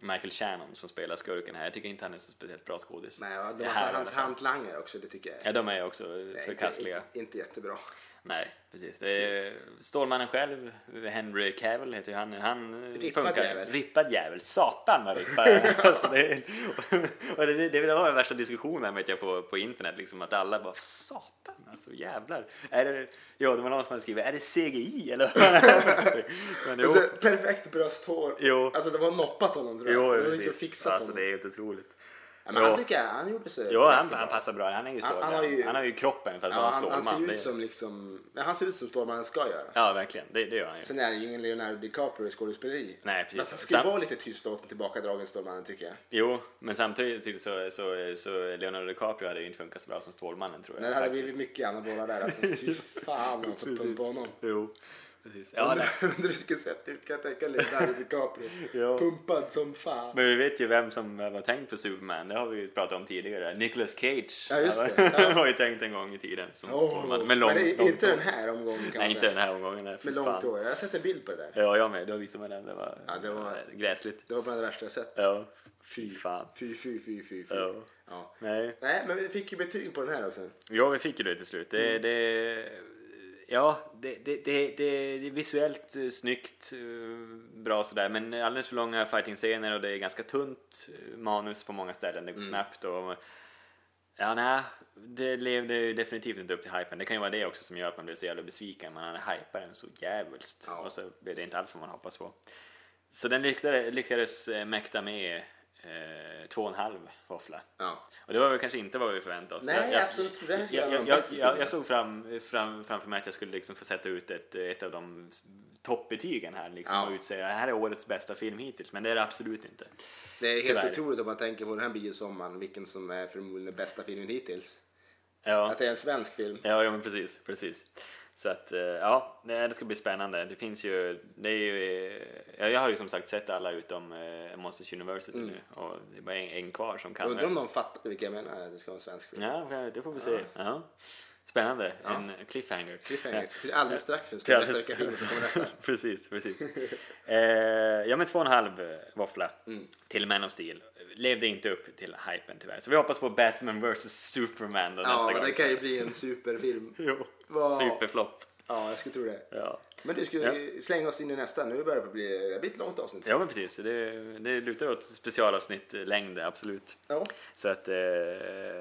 S1: Michael Shannon som spelar skurken här, jag tycker inte han är så speciellt bra skådis.
S2: Nej, och de
S1: Det
S2: har
S1: här i
S2: så- hans
S1: alla fall.
S2: hantlangare också, det tycker jag är
S1: Ja, de är också förkastliga.
S2: Inte, inte jättebra.
S1: Nej, precis. Det är Stålmannen själv, Henry Cavill heter ju han. han eh,
S2: Rippad
S1: funkar.
S2: jävel.
S1: Rippad jävel. Satan vad rippad alltså det, och det, det var den värsta diskussionen vet jag på, på internet, liksom, att alla bara satan alltså jävlar. Är det, ja, det var någon som hade skrivit, är det CGI eller? Men jo,
S2: Alltså, perfekt brösthår.
S1: Jo.
S2: Alltså de har noppat honom tror jag.
S1: jo,
S2: de har liksom
S1: precis.
S2: fixat
S1: alltså
S2: honom.
S1: det är helt otroligt.
S2: Ja, men han
S1: Jo.
S2: tycker jag, han gjorde sig
S1: Jo, han,
S2: ganska
S1: han
S2: bra.
S1: passar bra. Han är ju
S2: Han-
S1: stålman.
S2: han har ju-
S1: kroppen för att
S2: Ja,
S1: vara en
S2: han, han
S1: stålman.
S2: ser ju
S1: Det-
S2: ut som liksom, ja, han ser ut som Stålmannen ska göra.
S1: Ja, verkligen. Det, det gör han ju.
S2: Sen är det ju ingen Leonardo DiCaprio i skådespeleri.
S1: Nej, precis.
S2: Men han ska ju
S1: Sam-
S2: vara lite tystlåten tillbakadragen Stålmannen tycker jag.
S1: Jo, men samtidigt så, så, så Leonardo DiCaprio hade ju inte funkat så bra som Stålmannen tror jag.
S2: Men det hade
S1: faktiskt.
S2: blivit mycket anabola där alltså. Fy fan vad man fått pumpa honom.
S1: Jo. Precis. Ja, nej.
S2: undrar, undrar hur det skulle sett ut kan jag tänka mig. Leonardo DiCaprio.
S1: Ja.
S2: Pumpad som fan.
S1: Men vi vet ju vem som var tänkt för Superman. Det har vi ju pratat om tidigare. Nicolas Cage.
S2: Ja, just det.
S1: det. var ju tänkt en gång i tiden. Som Stålman. Men, lång,
S2: men det är
S1: långt
S2: inte
S1: hår.
S2: den här omgången
S1: Nej,
S2: kan man
S1: inte
S2: säga.
S1: den här omgången. Nej, fy
S2: Med långt
S1: fan.
S2: hår. Jag har sett en bild på det där.
S1: Ja, jag med. Du visade mig den. Det var,
S2: Ja, det var-
S1: gräsligt.
S2: Det var bland det värsta jag sett.
S1: Ja. Fy fan.
S2: Fy, fy, fy, fy, fy.
S1: Ja.
S2: Ja.
S1: Nej.
S2: Nej, men vi fick ju betyg på den här också.
S1: Ja, vi fick ju det till slut. Det, det, ja, det, det, det, det är visuellt eh, snyggt, eh, bra sådär, men alldeles för långa fighting-scener och det är ganska tunt eh, manus på många ställen. Det går snabbt och... Ja, nej, det levde ju definitivt inte upp till hypen. Det kan ju vara det också som gör att man blir så jävla besviken. Man hypar den så jävligt
S2: Ja.
S1: och så blev det inte alls vad man hoppas på. Så den lyckades, lyckades eh, mäkta med eh, två och en halv våffla.
S2: Ja.
S1: Och det var väl kanske inte vad vi förväntade oss.
S2: Nej, alltså, jag trodde det här skulle
S1: jag,
S2: vara
S1: jag,
S2: en
S1: jag,
S2: bättre
S1: jag,
S2: film.
S1: jag såg fram, fram, framför mig att jag skulle liksom få sätta ut ett, ett av de s- toppbetygen här liksom,
S2: Ja.
S1: och utsäga det här är årets bästa film hittills. Men det är det absolut inte.
S2: Det är helt
S1: Tyvärr.
S2: otroligt om man tänker på den här biosommaren, vilken som är förmodligen den bästa filmen hittills.
S1: Ja,
S2: Att det är en svensk film.
S1: ja, ja men precis, precis. Så att eh, ja, det det ska bli spännande. Det finns ju, det är ju, eh, ja, jag har ju som sagt sett alla utom eh, Monsters University nu och det är bara en, en kvar som kan.
S2: Mm. Undrar om de fattar vilka jag menar, att det ska vara en svensk film.
S1: Ja, det får vi se. Ja. Spännande, en cliffhanger.
S2: Cliffhanger. Till Alldeles strax så ska
S1: Till
S2: jag
S1: alldeles-
S2: berätta vilka filmer som kommer nästa.
S1: precis, precis. Eh, ja men två och en halv eh, våffla
S2: Mm.
S1: till Man of Steel. Levde inte upp till hypen tyvärr. Så vi hoppas på Batman vs Superman då nästa
S2: Ja,
S1: gång.
S2: det kan ju bli en superfilm.
S1: Jo,
S2: Vad-
S1: superflopp.
S2: Ja, jag skulle tro det.
S1: Ja.
S2: Men du, ska vi slänga oss in i nästa? Nu börjar det bli, det blir ett långt avsnitt.
S1: ja men precis, det, det lutar åt specialavsnitt eh, längd absolut.
S2: Ja.
S1: Så att, eh,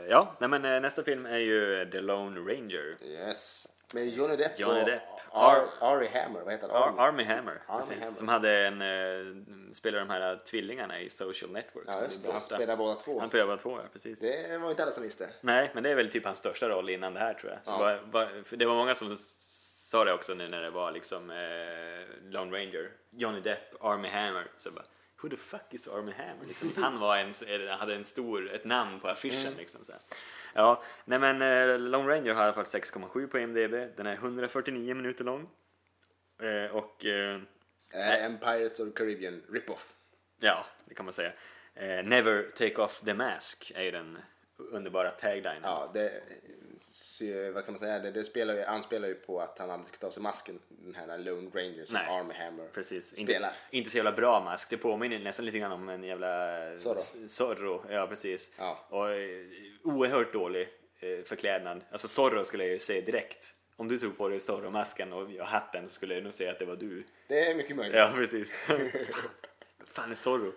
S1: ja, nej men eh, nästa film är ju The Lone Ranger.
S2: Yes. Med Johnny Depp
S1: Johnny
S2: och
S1: Depp.
S2: Ar- Army Hammer, vad heter han?
S1: Ar- Army Hammer,
S2: Army
S1: precis,
S2: Hammer.
S1: som hade en, eh, spelade de här tvillingarna i Social Network.
S2: Ja,
S1: som
S2: just det.
S1: blev
S2: Han
S1: blåsta.
S2: spelar båda två.
S1: Han spelar bara två, ja, precis.
S2: Det var inte alla som visste. Eh,
S1: Nej, men det är väl typ hans största roll innan det här tror jag. Så
S2: Ja.
S1: bara, bara, för det var många som s- sa det också nu när det var liksom eh, Lone Ranger, Johnny Depp, Army Hammer. Så bara, who the fuck is Army Hammer? Liksom, att han var en, hade en stor, ett namn på affischen
S2: Mm.
S1: liksom. Så här. Ja, nej men eh, Lone Ranger har i alla fall 6,7 på IMDB. Den är 149 minuter lång. Eh, och eh,
S2: Eh, en Pirates of the Caribbean rip-off.
S1: ja, det kan man säga. Eh, Never take off the mask är ju den underbara taglinen.
S2: Ja, det, så, ju- vad kan man säga? Det, det spelar ju, anspelar ju på att han aldrig ska ta av sig masken. Den här Lone Ranger som
S1: Nej.
S2: Army Hammer
S1: Precis. Inte,
S2: spelar.
S1: inte så jävla bra mask. Det påminner nästan lite grann om en jävla eh,
S2: Zorro.
S1: S- Zorro. Ja, precis.
S2: Ja.
S1: Och eh, oerhört dålig eh, förklädnad. Alltså Zorro skulle jag ju se direkt. Om du tog på dig Zorro-masken och och hatten så skulle jag nog säga att det var du.
S2: Det är mycket möjligt.
S1: Ja, precis. Fan, Fan är Zorro?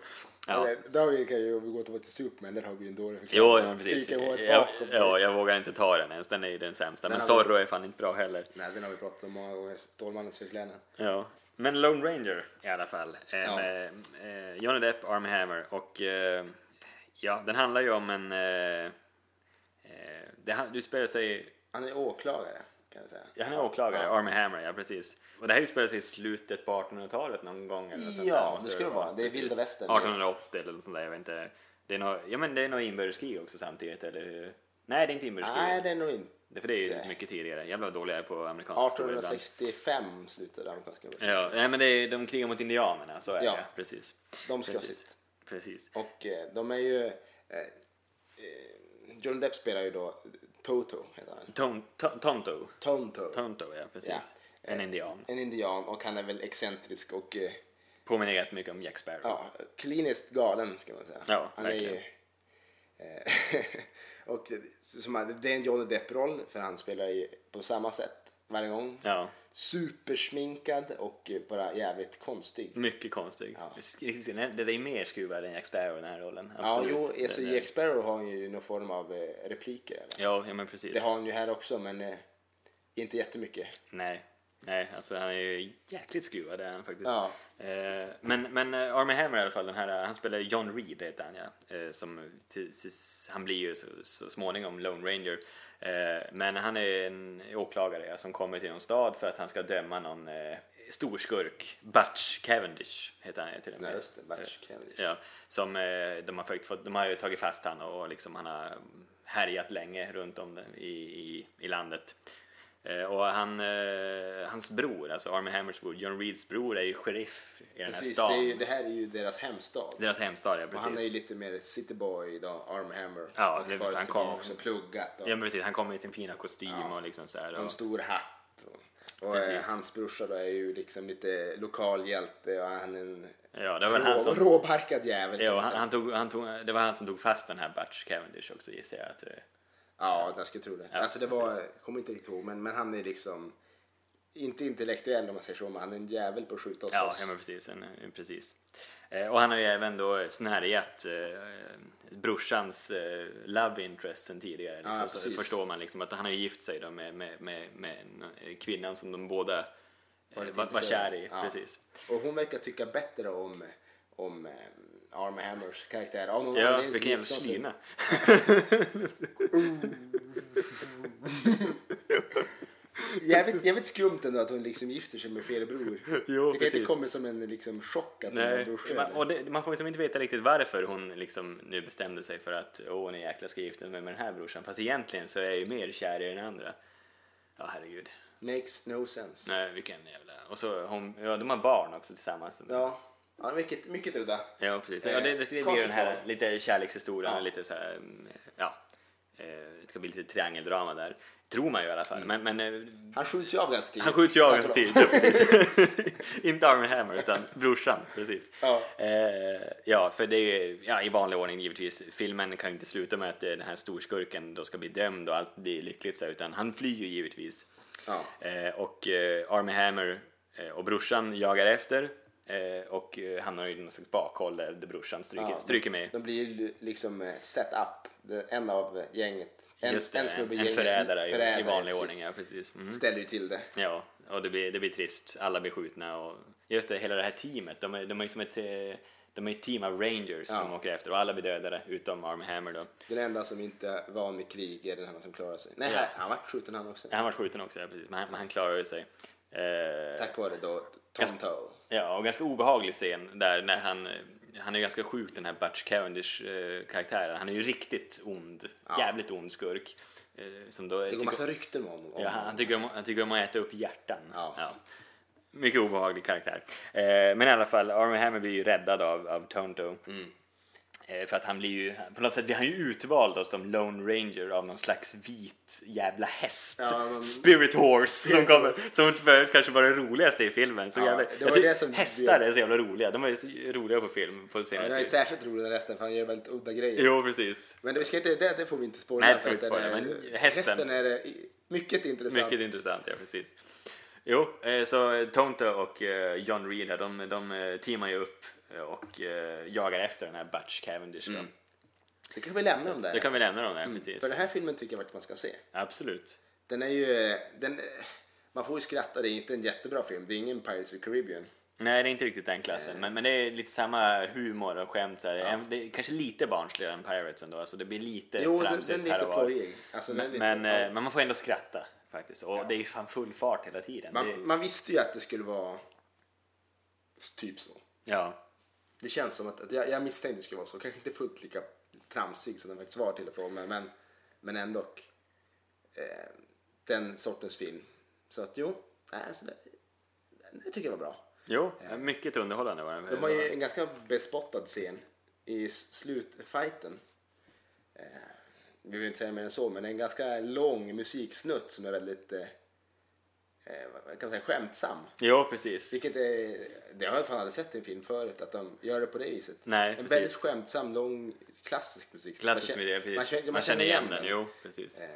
S1: Ja.
S2: Eller, Där har vi, kan ju vi gå tillbaka till Superman, där har vi ju en dålig
S1: Jo, ja, precis.
S2: Stryka håret
S1: Jag,
S2: bakom.
S1: ja, jag vågar inte ta den ens. Den är ju den sämsta. Men
S2: har vi-
S1: Zorro är fan inte bra heller.
S2: Nej, den har vi pratat om många gånger. Stålmannens förklädnad.
S1: Ja. Men Lone Ranger i alla fall. Eh,
S2: Ja.
S1: Med, eh, Johnny Depp, Army Hammer och eh, ja, den handlar ju om en... Eh, eh, det, han- du spelar sig...
S2: Han är åklagare, kan jag säga.
S1: ja, Han är åklagare, Army Hammer, ja precis. Och det här utspelar sig i slutet på 1800-talet någon gång. Eller något sånt
S2: Ja,
S1: där, måste
S2: det skulle vara. Det är
S1: precis.
S2: vilda västern.
S1: 1880 eller något sånt där, jag vet inte. Det är nog, ja men det är nog inbördeskrig också samtidigt, eller hur? Nej, det är inte inbördeskrig.
S2: Nej, det är nog inte.
S1: Det, för det är ju mycket tidigare. Jävla dåliga jag är på amerikansk historia ibland.
S2: 1865 slutade amerikanska kriget.
S1: Ja, nej, men det är, de krigar mot indianerna, så är
S2: Ja.
S1: det. Precis.
S2: De ska ha
S1: Precis.
S2: sitt.
S1: Precis.
S2: Och eh, de är ju... Eh, eh, John Depp spelar ju då Toto, heter han.
S1: Tom, to, tonto.
S2: Tonto.
S1: Tonto, ja precis.
S2: Ja.
S1: En
S2: Eh,
S1: indian.
S2: En indian och han är väl excentrisk och eh,
S1: Påminner rätt mycket om Jack Sparrow.
S2: ja, kliniskt galen ska man säga.
S1: Ja,
S2: han är ju,
S1: verkligen.
S2: eh, och eh, som, han- det är en Johnny Depp-roll för han spelar ju på samma sätt varje gång.
S1: Ja,
S2: Supersminkad och eh, bara jävligt konstig.
S1: mycket konstig.
S2: Ja.
S1: Sk- Det är mer skruvad än Jack Sparrow i den här rollen.
S2: Ja,
S1: Absolut.
S2: jo, alltså
S1: Det- det-
S2: Jack Sparrow har ju någon form av eh, repliker. Eller?
S1: Ja, ja, men precis.
S2: Det har han ju här också, men eh, inte jättemycket.
S1: Nej, nej, alltså han är ju jäkligt skruvad är han faktiskt.
S2: Ja.
S1: Eh, men men eh, Armie Hammer i alla fall, den här, eh, han spelar John Reed heter han ja. Eh, som till, sist- han blir ju så, så småningom Lone Ranger. Eh, men han är en åklagare ja, som kommer till någon stad för att han ska döma någon eh, storskurk. Butch Cavendish heter han ju till och med. Eh,
S2: Ja, just det. Batch Cavendish.
S1: Ja, som eh, de har försökt få, de har ju tagit fast han och liksom han har härjat länge runt om den- i, i, i landet. Eh, Eh, och han, eh, hans bror, alltså Army Hammers bror, John Reeds bror är ju sheriff i den här
S2: Precis, det,
S1: stan.
S2: är ju, det här är ju deras hemstad.
S1: Deras hemstad, ja
S2: och
S1: precis.
S2: han är ju lite mer cityboy idag, Armhammer.
S1: Ja,
S2: och
S1: det-
S2: förut
S1: han
S2: så
S1: kom-
S2: var han också pluggat. Och
S1: Ja men precis, han kommer i sin fina kostym
S2: Ja.
S1: och liksom så här.
S2: och En
S1: Och,
S2: stor hatt. Och, och
S1: Precis.
S2: eh, hans brorsa då är ju liksom lite lokal hjälte och han är en
S1: ja, det var väl han
S2: rå,
S1: som...
S2: råbarkad jävel. typ,
S1: Ja,
S2: kan
S1: och han,
S2: man säga.
S1: han tog, han tog, det var han som tog fast den här Butch Cavendish också gissar jag. Att, eh,
S2: Ja, jag skulle tro det.
S1: Ja,
S2: alltså det var,
S1: precis.
S2: jag kommer inte riktigt ihåg, men, men han är liksom inte intellektuell om man säger så, men han är en jävel på att skjuta och
S1: ja,
S2: slåss.
S1: ja, men precis. En, en, precis. Eh, och han har ju även då snärjat eh, brorsans eh, love interest sen tidigare. Liksom,
S2: Ja,
S1: så
S2: precis.
S1: förstår man liksom att han har ju gift sig då med, med, med, med en, eh, kvinnan som de båda
S2: Var
S1: var,
S2: lite
S1: var, var
S2: intresserade.
S1: kär i.
S2: Ja.
S1: Precis.
S2: Och hon verkar tycka bättre om, om eh, Arm Hammers karaktär. Av någon
S1: Ja,
S2: anledning så
S1: vilken jävla
S2: gifte de sig.
S1: slyna.
S2: Jävligt, jävligt skumt ändå att hon liksom gifter sig med fel bror.
S1: Jo,
S2: det kan inte
S1: precis.
S2: komma som en liksom, chock att hon har en
S1: Nej,
S2: brorsa.
S1: man,
S2: eller?
S1: och det, man får liksom inte veta riktigt varför hon liksom nu bestämde sig för att åh, ni jäklar ska gifta mig med den här brorsan. Fast egentligen så är jag ju mer kär i den andra. Ja, herregud.
S2: Makes no sense.
S1: Nej, vilken jävla... Och så hon, ja, de har barn också tillsammans.
S2: Ja, ja mycket, mycket udda.
S1: Ja, precis.
S2: Eh,
S1: Ja, det, det, det blir ju
S2: konstigt
S1: den här
S2: val.
S1: lite kärlekshistorien
S2: Ja.
S1: och lite så här, mm, ja. eh, Det ska bli lite triangeldrama där. Tror man ju i alla fall. Men, men eh,
S2: Mm. Han skjuts ju av ganska tidigt.
S1: han skjuts ju av
S2: Tack
S1: ganska
S2: och lov.
S1: tidigt. Ja, precis. Inte Armie Hammer utan brorsan. Precis.
S2: Ja.
S1: Eh, ja, för det är ju- ja, i vanlig ordning givetvis. Filmen kan ju inte sluta med att eh, den här storskurken då ska bli dömd och allt blir lyckligt så här, utan han flyr ju givetvis.
S2: Ja.
S1: Eh, och eh, Army Hammer eh, och brorsan jagar efter eh, och eh, hamnar i någon slags bakhåll där där brorsan stryker,
S2: Ja.
S1: stryker med.
S2: De blir ju liksom eh, set up. Det- En av eh, gänget, en,
S1: Just det,
S2: en snubbe i
S1: en, en
S2: gänget.
S1: förrädare, i, i vanlig
S2: precis,
S1: ordning. Ja, precis. Mm.
S2: Ställer ju till det.
S1: Ja, och det blir, det blir trist. Alla blir skjutna och just det, hela det här teamet. De är, de är ju som ett, eh, de är ett team av rangers
S2: Ja.
S1: som åker efter och alla blir dödade utom Arm Hammer då.
S2: Den enda som inte är van vid krig är den här som klarar sig. Nej,
S1: Ja.
S2: han- han vart skjuten han också.
S1: Han var skjuten också, ja, precis, men han, men han klarar ju sig. Eh,
S2: Tack vare då Tom
S1: Ganska-
S2: Toe.
S1: ja, och ganska obehaglig scen där när han eh, han är ju ganska sjuk den här Butch Cavendish eh, karaktären. Han är ju riktigt ond.
S2: Ja.
S1: Jävligt ond skurk. Eh, som då
S2: Det går
S1: tycker-
S2: massa rykten om honom.
S1: Ja, han, han, tycker om, han tycker om att äta upp hjärtan.
S2: Ja.
S1: Mycket obehaglig karaktär. Eh, men i alla fall, Army Hammer blir ju räddad av, av Tonto.
S2: Mm.
S1: Eh, för att han blir ju, på något sätt blir han ju utvald då, som Lone Ranger av någon slags vit jävla häst.
S2: Ja, någon-
S1: Spirit Horse som kommer, som förut kanske var det roligaste i filmen. Så
S2: Ja,
S1: jävla,
S2: det var
S1: jag tycker
S2: det som-
S1: hästar är så jävla roliga, de är ju så roliga på film på
S2: Men
S1: senare
S2: det är
S1: tid.
S2: särskilt roligt när resten för han gör väldigt udda grejer.
S1: Jo precis,
S2: Men det, vi ska inte, det, det får vi inte spoila.
S1: Nej, det får
S2: för
S1: vi
S2: att
S1: inte
S2: den
S1: spoila,
S2: är-
S1: men hästen-
S2: är det i- mycket intressant.
S1: Mycket intressant, ja precis. Jo, eh, så Tonto och eh, John Reed här, de, de eh, teamar ju upp eh, och eh, jagar efter den här Butch Cavendish.
S2: Mm.
S1: Då.
S2: Så kan vi lämna dem där.
S1: Då kan vi lämna dem där, precis.
S2: Mm, För den här filmen tycker jag att man ska se.
S1: Absolut.
S2: Den är ju... eh, Den, eh, man får ju skratta, det är inte en jättebra film. Det är ingen Pirates of the Caribbean.
S1: Nej, det är inte riktigt den
S2: Eh.
S1: klassen, men, men det är lite samma humor och skämt. Där. Även- Det är kanske lite barnsligare än Pirates ändå, alltså det blir lite
S2: jo, den,
S1: tramsigt
S2: den är lite
S1: här och var.
S2: plojig. Alltså, den är lite,
S1: Men, eh,
S2: ja.
S1: men man får ändå skratta faktiskt, och det är ju fan full fart hela tiden.
S2: man,
S1: Det,
S2: man visste ju att det skulle vara typ så.
S1: ja.
S2: Det känns som att, att jag, jag misstänkte att det skulle vara så. Kanske inte fullt lika tramsig som den faktiskt var till och från. Men, men, men ändå. Eh, den sortens film. Så att jo, nej, alltså det, det tycker jag var bra.
S1: Jo, mycket underhållande var den.
S2: De har ju en ganska bespottad scen i s- slutfighten. Eh, Vi vill inte säga mer än så, men det är en ganska lång musiksnutt som är väldigt eh, eh, vad kan man säga, skämtsam.
S1: Jo, precis.
S2: Vilket är, det har jag fan aldrig sett i en film förut, att de gör det på det viset.
S1: Nej,
S2: en
S1: precis.
S2: väldigt skämtsam, lång, klassisk musik.
S1: Klassisk
S2: Man
S1: miljö,
S2: känner-
S1: precis.
S2: man känner- Man känner igen den.
S1: jo precis.
S2: Eh,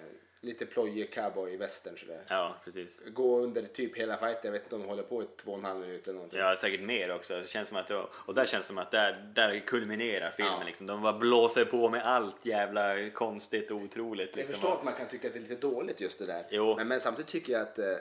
S2: Lite plojig cowboy i western sådär.
S1: Ja, precis.
S2: Gå under typ hela fighten, jag vet inte om de håller på i två och en halv minut eller någonting.
S1: Ja, säkert mer också. Det känns som att, det- och där känns som att där, där kulminerar filmen
S2: Ja.
S1: liksom. De bara blåser på med allt jävla konstigt och otroligt
S2: Jag
S1: liksom.
S2: förstår att man kan tycka att det är lite dåligt just det där.
S1: Jo.
S2: Men, men samtidigt tycker jag att eh,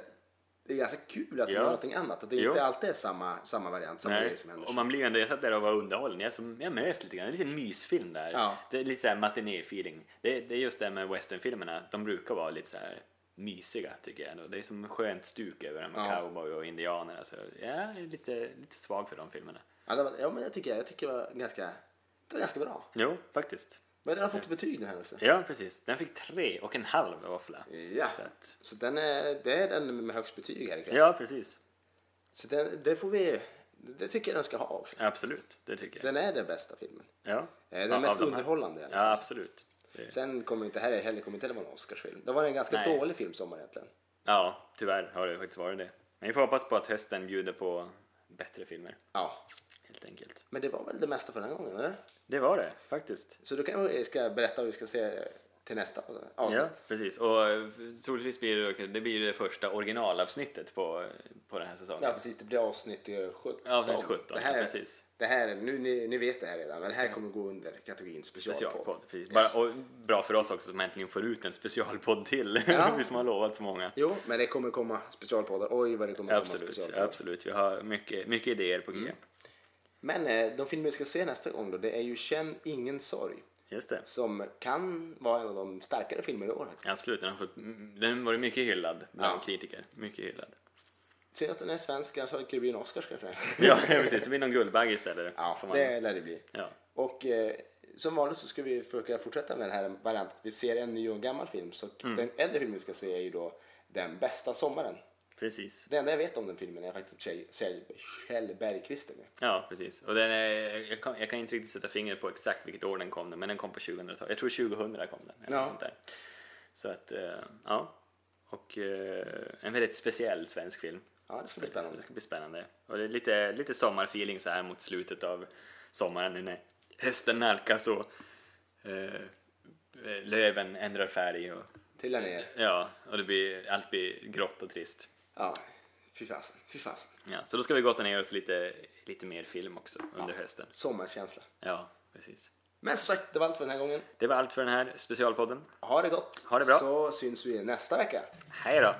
S2: det är ganska kul att de
S1: Ja.
S2: gör någonting annat. Att det
S1: Jo.
S2: inte alltid är samma, samma variant, samma grej
S1: Nej,
S2: som händer.
S1: och man blir ju ändå, jag satt där och var underhållen. Jag, som, jag mös lite grann, en liten mysfilm där.
S2: Ja.
S1: Det är lite såhär matiné-feeling. Det, det är just det här med westernfilmerna, de brukar vara lite så här mysiga tycker jag ändå. Det är som skönt stuk över dem med
S2: Ja.
S1: cowboy och indianer. Alltså, jag är lite, lite svag för de filmerna.
S2: Ja, det var, ja, men jag tycker, jag tycker det var ganska, det var ganska bra.
S1: Jo, faktiskt.
S2: Men den har fått betyg den här också.
S1: Ja, precis. Den fick tre och en halv våffla.
S2: Ja.
S1: Så att,
S2: Så den är, det är den med högst betyg här ikväll.
S1: ja, precis.
S2: Så den, det får vi, det tycker jag den ska ha också.
S1: Absolut, det tycker jag.
S2: Den är den bästa filmen.
S1: Ja.
S2: Eh, Den
S1: Ja, av
S2: mest
S1: de här.
S2: underhållande. i alla fall.
S1: Ja, absolut. Det-
S2: Sen kommer inte, här heller kommer inte heller vara en Oscarsfilm. Det var en ganska
S1: Nej.
S2: dålig filmsommar egentligen.
S1: Ja, tyvärr har det faktiskt varit det. Men vi får hoppas på att hösten bjuder på bättre filmer,
S2: Ja.
S1: helt enkelt.
S2: Men det var väl det mesta för den här gången, eller?
S1: Det var det, faktiskt.
S2: Så då kan jag, ska jag berätta vad vi ska se till nästa avsnitt.
S1: Ja, precis. Och eh, troligtvis blir det, det, blir det första originalavsnittet på, på den här säsongen.
S2: Ja, precis. Det blir avsnitt eh, 17.
S1: Ja, avsnitt 17,
S2: Det här,
S1: ja, precis.
S2: Det här, nu, ni, ni vet det här redan, men det här kommer gå under kategorin specialpodd.
S1: Specialpodd. Precis.
S2: Yes.
S1: Bara, och bra för oss också som äntligen får ut en specialpodd till.
S2: Ja.
S1: vi som har lovat så många.
S2: Jo, men det kommer komma specialpoddar. Oj, vad det kommer komma
S1: Absolut,
S2: specialpoddar.
S1: absolut. Vi har mycket, mycket idéer på g.
S2: Mm. Men eh, de filmer vi ska se nästa gång då, det är ju Känn ingen sorg.
S1: Just det.
S2: Som kan vara en av de starkare filmerna i år. faktiskt.
S1: Absolut, den har fått, den varit mycket hyllad bland
S2: Ja.
S1: kritiker. Mycket hyllad.
S2: Synd att den är svensk, annars hade det kunnat bli en Oscars kanske.
S1: Ja, precis. Det blir någon guldbagge istället.
S2: ja,
S1: Får man-
S2: det lär det bli.
S1: ja.
S2: Och eh, som vanligt så ska vi försöka fortsätta med den här varianten. Vi ser en ny och en gammal film. Så den äldre filmen vi ska se är ju då Den bästa sommaren.
S1: Precis.
S2: Det enda jag vet om den filmen är faktiskt Kjell, Kjell, Kjell Bergqvist är med.
S1: Ja, precis. Och den är, jag, kan, jag kan inte riktigt sätta fingret på exakt vilket år den kom, men den kom på 2000-talet. Jag tror 2000 kom den. Eller
S2: Ja.
S1: ja. sånt där. Så att, eh, ja. Och eh, en väldigt speciell svensk film.
S2: Ja, det ska bli
S1: Så
S2: spännande.
S1: Det ska bli spännande. Och det är lite, lite sommarfeeling så här mot slutet av sommaren nu när hösten nalkas och eh, eh, löven ändrar färg. Och,
S2: Trilla ner.
S1: ja, och det blir, allt blir grått och trist.
S2: Ja, fy fasen. Fy fasen.
S1: Ja, så då ska vi gotta ner oss lite, lite mer film också under hösten.
S2: Sommarkänsla.
S1: Ja, precis.
S2: Men som sagt, det var allt för den här gången.
S1: Det var allt för den här specialpodden.
S2: Ha det gott.
S1: Ha det bra.
S2: Så syns vi nästa vecka.
S1: Hej då!